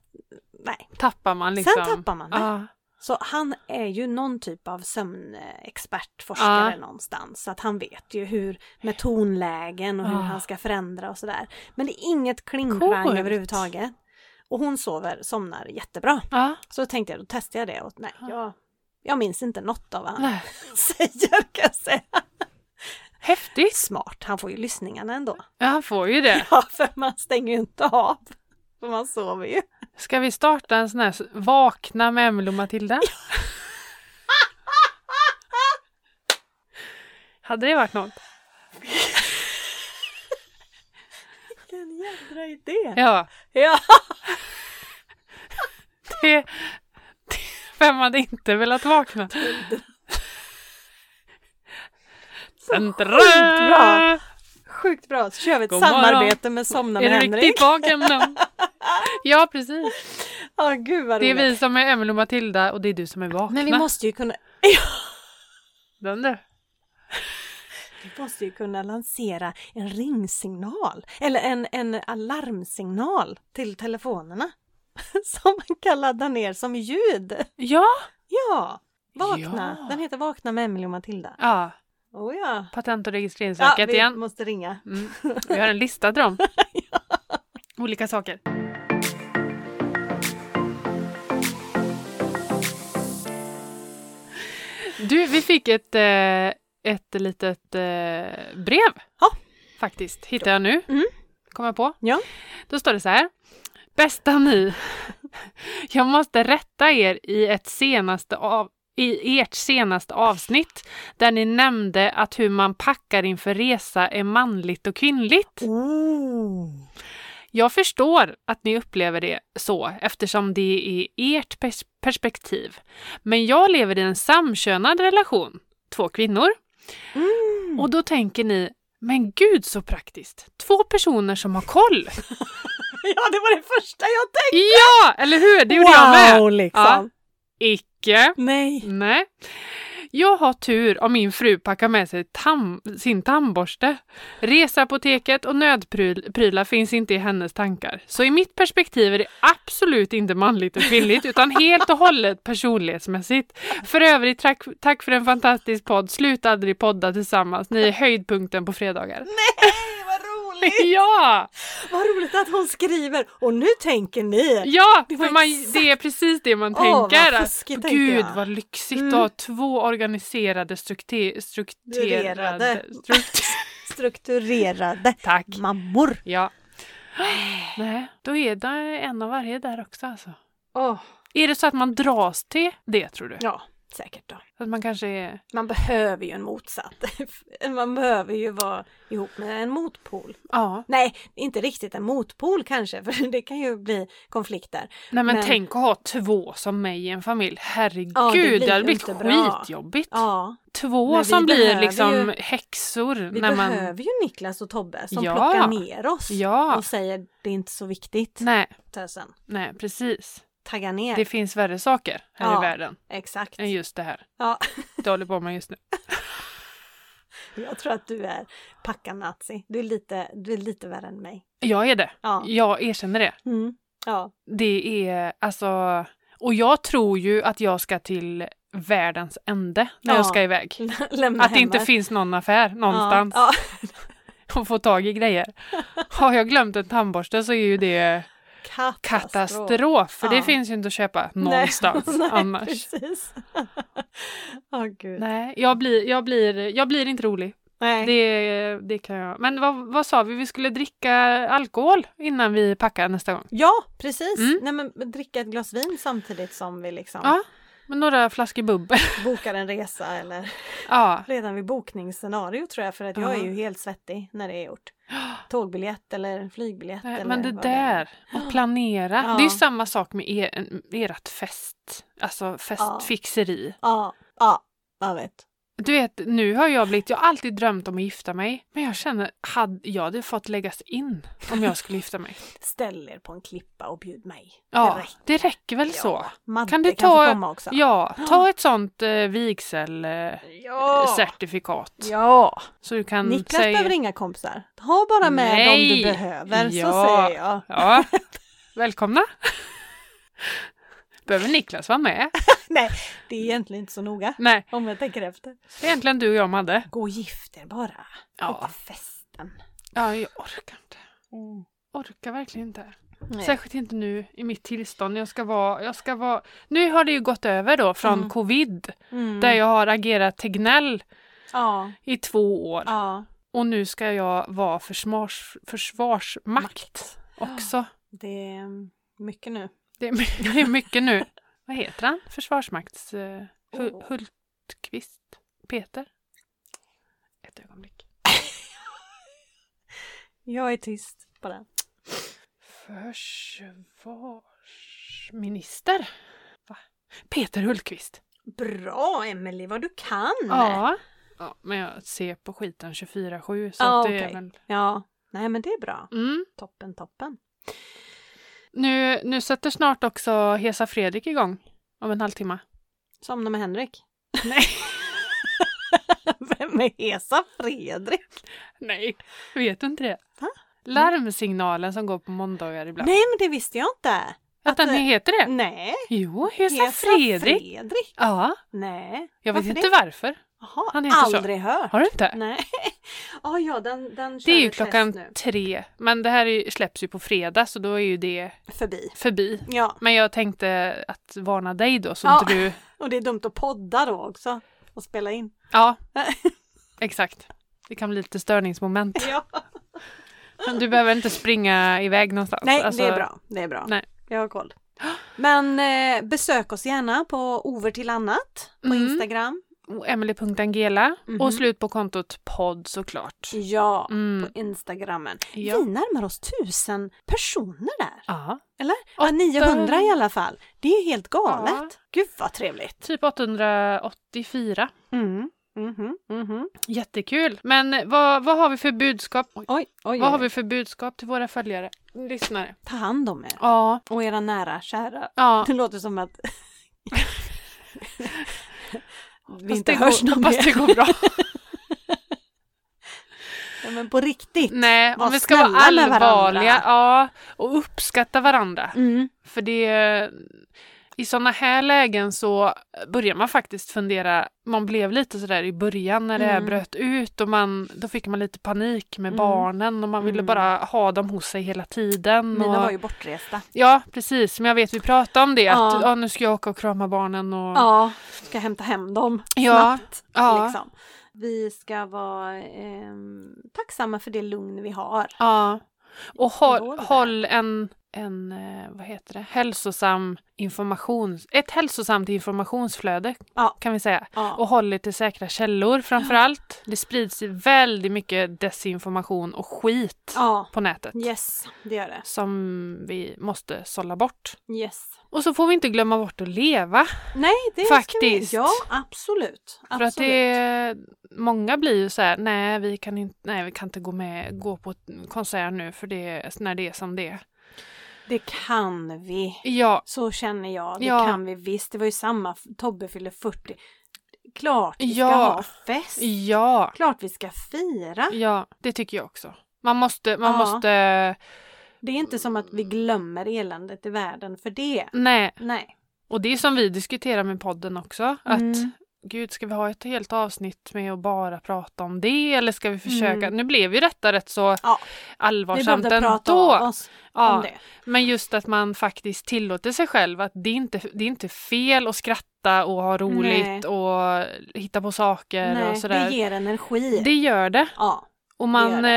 nej, tappar man liksom. sen tappar man det. Ja. Så han är ju någon typ av sömnexpert, forskare Ja. någonstans. Så att han vet ju hur med tonlägen och hur Ja. han ska förändra och sådär. Men det är inget klingklang Coolt. överhuvudtaget. Och hon sover, somnar jättebra. ja. Så tänkte jag, då testar jag det och nej, jag, jag minns inte något av vad han Nej. säger kan jag säga. Häftigt. Smart, han får ju lyssningarna ändå. Ja, han får ju det. Ja, för man stänger ju inte av. För man sover ju. Ska vi starta en sån här s- Vakna med Emelie och Matilda? Hade det varit något? Vilken jädra idé! Ja. Ja, Det, det, vem hade inte velat vakna? bra. sjukt bra! Så kör vi ett God samarbete med Somna Är med du Henrik. riktigt vaken nu? Ja, precis. Ja, gud vad Det är roligt. vi som är Emelie och Matilda och det är du som är vakna. Men vi måste ju kunna, Den du. vi måste ju kunna lansera en ringsignal eller en, en alarmsignal till telefonerna som man kan ladda ner som ljud. Ja. Ja! Vakna! Ja. Den heter Vakna med Emelie och Matilda. ja. Oh ja! Patent och Ja, registreringsverket vi igen. måste ringa. Mm. Vi har en lista till dem. Olika saker. Du, vi fick ett, eh, ett litet eh, brev. Ja. Faktiskt, hittar jag nu. Mm. Kommer jag på. Ja. Då står det så här. Bästa ni. Jag måste rätta er i ett senaste av i ert senaste avsnitt där ni nämnde att hur man packar inför resa är manligt och kvinnligt. Oh. Jag förstår att ni upplever det så eftersom det är ert pers- perspektiv. Men jag lever i en samkönad relation, två kvinnor. Mm. Och då tänker ni, men gud så praktiskt! Två personer som har koll! Ja, det var det första jag tänkte! Ja, eller hur? Det gjorde jag med! liksom! Ja. Icke. Nej! Nej. Jag har tur om min fru packar med sig tam- sin tandborste. Resapoteket och nödprylar finns inte i hennes tankar. Så i mitt perspektiv är det absolut inte manligt och kvinnligt utan helt och hållet personlighetsmässigt. För övrigt, tack, tack för en fantastisk podd. Sluta aldrig podda tillsammans. Ni är höjdpunkten på fredagar. Nej, vad roligt! Ja! Vad roligt att hon skriver och nu tänker ni! Ja, Det det, var för man, exakt- det är precis det man Åh, vad tänker. fuskigt, tänker Gud jag. vad lyxigt Mm. att ha två organiserade, strukte- strukturerade... Rerade. Struktur- Strukturerade Tack! mammor! Ja. Nej, då är det en av varje där också alltså. Oh. Är det så att man dras till det tror du? Ja, säkert då. Att man kanske är... Man behöver ju en motsatt. Man behöver ju vara ihop med en motpol. Ja. Nej, inte riktigt en motpol kanske, för det kan ju bli konflikter. Nej men, Men- tänk att ha två som mig i en familj. Herregud, Ja, det blir det, hade ju blivit inte bra. skitjobbigt. Ja, Men Två vi som blir behöver liksom ju- häxor. vi när man... behöver ju Niklas och Tobbe som Ja. plockar ner oss Ja. och säger det är inte så viktigt. Nej, Tösen. nej precis. Tagga ner. Det finns värre saker här Ja. i världen Exakt. än just det här. Ja, Det håller på med just nu. jag tror att du är packa-nazi. Du, är lite- du är lite värre än mig. Jag är det. Ja. Jag erkänner det. Mm. Ja. Det är alltså... Och jag tror ju att jag ska till världens ände när Ja. jag ska iväg. Lämna Att det inte hemmet. finns någon affär någonstans Ja. och få tag i grejer. Har jag glömt en tandborste så är ju det Ja. Katastrof. katastrof. För Ja. det finns ju inte att köpa någonstans Nej, annars. precis. Åh gud. Nej. Nej, jag blir, jag, blir, jag blir inte rolig. Det, det kan jag. Men vad, vad sa vi? Vi skulle dricka alkohol innan vi packar nästa gång. Ja, precis. Mm. Nej, men dricka ett glas vin samtidigt som vi liksom Ja. Med några flaskor bubbel. bokar en resa eller ja. redan vid bokningsscenario tror jag för att jag Ja. är ju helt svettig när det är gjort. Tågbiljett eller flygbiljett. Nej, eller Men det vad är. där, att planera. Ja. Det är ju samma sak med er, ert fest. Alltså Ja. festfixeri. Ja, ja, jag vet. Du vet, nu har jag blivit, jag har alltid drömt om att gifta mig. Men jag känner, hade, jag hade fått läggas in om jag skulle gifta mig. Ställ er på en klippa och bjud mig. Ja, Det det räcker. räcker, väl så. Madde Kan kan, du du få ta- komma också. Ja, ta ett sånt eh, vigselcertifikat. Eh, ja. certifikat. ja. Så du kan Niklas säga... behöver inga kompisar. Ha bara med dem Nej. du behöver, så Ja. säger jag. Ja, välkomna! Behöver Niklas vara med? Nej, det är egentligen inte så noga. Nej, Om jag tänker efter. det är egentligen du och jag Madde. Gå och gift er bara. Ja. Ja. festen. ja, jag orkar inte. Mm. Orkar verkligen inte. Särskilt inte nu i mitt tillstånd. Jag ska vara, jag ska vara... Nu har det ju gått över då från Mm. covid, Mm. där jag har agerat Tegnell Ja. i två år. ja. Och nu ska jag vara försvars, försvarsmakt också. Det är mycket nu. Det är, my- det är mycket nu. Vad heter han? Försvarsmakts... eh, Hul- Oh. Hultqvist? Peter? Ett ögonblick. Jag är tyst på den. Försvarsminister? Va? Peter Hultqvist? Bra Emelie, vad du kan! Ja. ja. Men jag ser på skiten 24-7 så Ja, att det okej. är väl... ja. Nej men det är bra. Mm. Toppen, toppen. Nu, nu sätter snart också Hesa Fredrik igång. Om en halvtimme. Somna med Henrik. Nej. Vem är Hesa Fredrik? Nej, vet du inte det? Va? Larmsignalen som går på måndagar ibland. Nej men det visste jag inte! Att den heter det? Nej! Jo, Hesa Fredrik. Fredrik? Ja, Nej. jag Varför vet det? inte varför. Jaha, Han heter så. aldrig hört. Har du inte? Nej. Ja, ja, den, den Det kör är ju ett test klockan nu. tre, men det här är ju, släpps ju på fredag så då är ju det Förbi. förbi. Ja, Men jag tänkte att varna dig då så Ja. inte du... och det är dumt att podda då också. och spela in. Ja, exakt. Det kan bli lite störningsmoment. Ja. Men Du behöver inte springa iväg någonstans. Nej, Alltså, det är bra. Det är bra. Nej. Jag har koll. Men eh, besök oss gärna på over till annat på Mm. Instagram. och Emily.angela Mhm. och slut på kontot podd såklart. Ja, Mm. på Instagrammen. Ja. Vi närmar oss tusen personer där. Ja. Eller? Ja, 900 i alla fall. Det är ju helt galet. Ja. Gud vad trevligt. Typ 884. Mm. Mhm, mhm. Jättekul! Men vad, vad har vi för budskap? Oj, Oj, oj, vad har oj. vi för budskap till våra följare? Lyssnare. Ta hand om er. Ja. Och era nära kära. ja. Det låter som att vi Fast inte det hörs går, någon hoppas det mer. går bra. Ja, Men på riktigt. Nej, Var om vi ska snälla vara med varandra. allvarliga ja, och uppskatta varandra. Mm. För det... I sådana här lägen så börjar man faktiskt fundera, man blev lite sådär i början när det här Mm. bröt ut och man, då fick man lite panik med Mm. barnen och man ville Mm. bara ha dem hos sig hela tiden. Mina och... var ju bortresta. Ja, precis. Men jag vet, vi pratade om det. Ja. Att, ja, nu ska jag åka och krama barnen. Och... Ja, ska hämta hem dem Ja, snabbt. ja. Liksom. Vi ska vara ehm, tacksamma för det lugn vi har. ja. Och Då är håll, vi där. håll en, en, eh, vad heter det, hälsosam information, ett hälsosamt informationsflöde Ja. kan vi säga. Ja. Och håll er till säkra källor framför allt. Det sprids ju väldigt mycket desinformation och skit ja, på nätet. yes, det gör det. Som vi måste sålla bort. Yes. Och så får vi inte glömma bort att leva. Nej, det Faktiskt. ska vi. Ja, absolut. absolut. För att det, många blir ju så här, nej vi kan inte, nej, vi kan inte gå, med, gå på ett konsert nu för det, när det är som det är. det kan vi. Ja, Så känner jag. Det Ja. kan vi visst. Det var ju samma. Tobbe fyller 40. Klart vi ska Ja. ha fest. ja, Klart vi ska fira. ja, det tycker jag också. Man måste, man Ja. måste, Det är inte som att vi glömmer eländet i världen för det. nej. Nej. Och det är som vi diskuterar med podden också, att Mm. gud ska vi ha ett helt avsnitt med att bara prata om det eller ska vi försöka, Mm. nu blev ju detta rätt så Ja, vi allvarsamt behövde ändå. prata av oss Ja. om det. Men just att man faktiskt tillåter sig själv att det är inte det är inte fel att skratta och ha roligt och hitta på saker och Nej, eh, sådär. det ger energi. Det gör det. Ja. Och man, det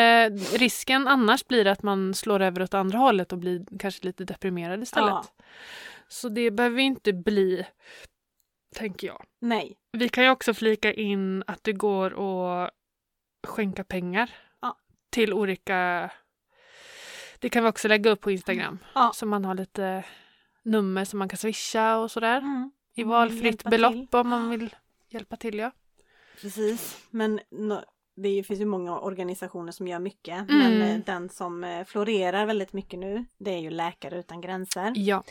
Eh, risken annars blir att man slår över åt andra hållet och blir kanske lite deprimerad istället. Ja. Så det behöver vi inte bli, tänker jag. Nej. Vi kan ju också flika in att det går att skänka pengar Ja. till olika... Det kan vi också lägga upp på Instagram. Mm. Ja. Så man har lite nummer som man kan swisha och sådär. Mm. I Mm, valfritt hjälpa belopp till. om man vill hjälpa till. Ja. Precis. Men nå- det är ju- finns ju många organisationer som gör mycket. Mm. Men eh, den som eh, florerar väldigt mycket nu det är ju Läkare Utan Gränser. ja.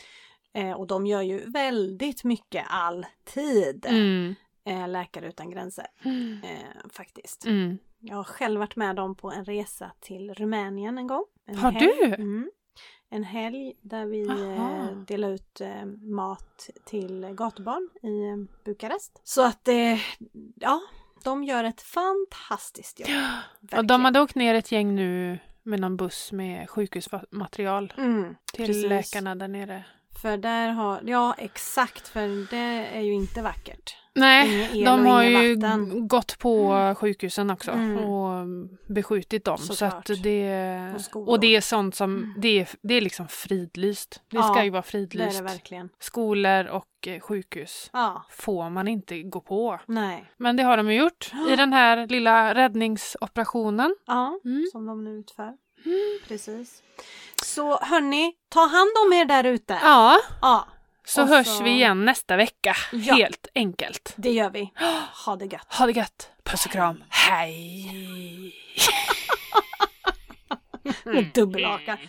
Eh, och de gör ju väldigt mycket alltid. Mm. Eh, Läkare Utan Gränser eh, faktiskt. Mm. Jag har själv varit med dem på en resa till Rumänien en gång. En Har helg. du? Mm. En helg där vi Aha. eh, delade ut eh, mat till gatubarn i eh, Bukarest. Så att eh, ja, de gör ett fantastiskt jobb. Och de hade åkt ner ett gäng nu med någon buss med sjukhusmaterial mm, till precis. läkarna där nere. För där har, ja exakt, för det är ju inte vackert. Nej, Ingen el de och har ingen ju vatten. g- gått på sjukhusen också Mm. och beskjutit dem. Så Såklart. att det, Och skolor. och, det är sånt som, Mm. det, är, det är liksom fridlyst. Det Ja, ska ju vara Det är det fridlyst. verkligen. Skolor och eh, sjukhus Ja, får man inte gå på. nej. Men det har de ju gjort i den här lilla räddningsoperationen. Ja, Mm. som de nu utför. Mm. Precis. Så hörni, ta hand om er där ute. Ja, ja. så Och hörs så- vi igen nästa vecka. Ja. Helt enkelt. Det gör vi. Ha det gött. Ha det gött! Puss och kram. Hej! Mm. Med dubbelhaka.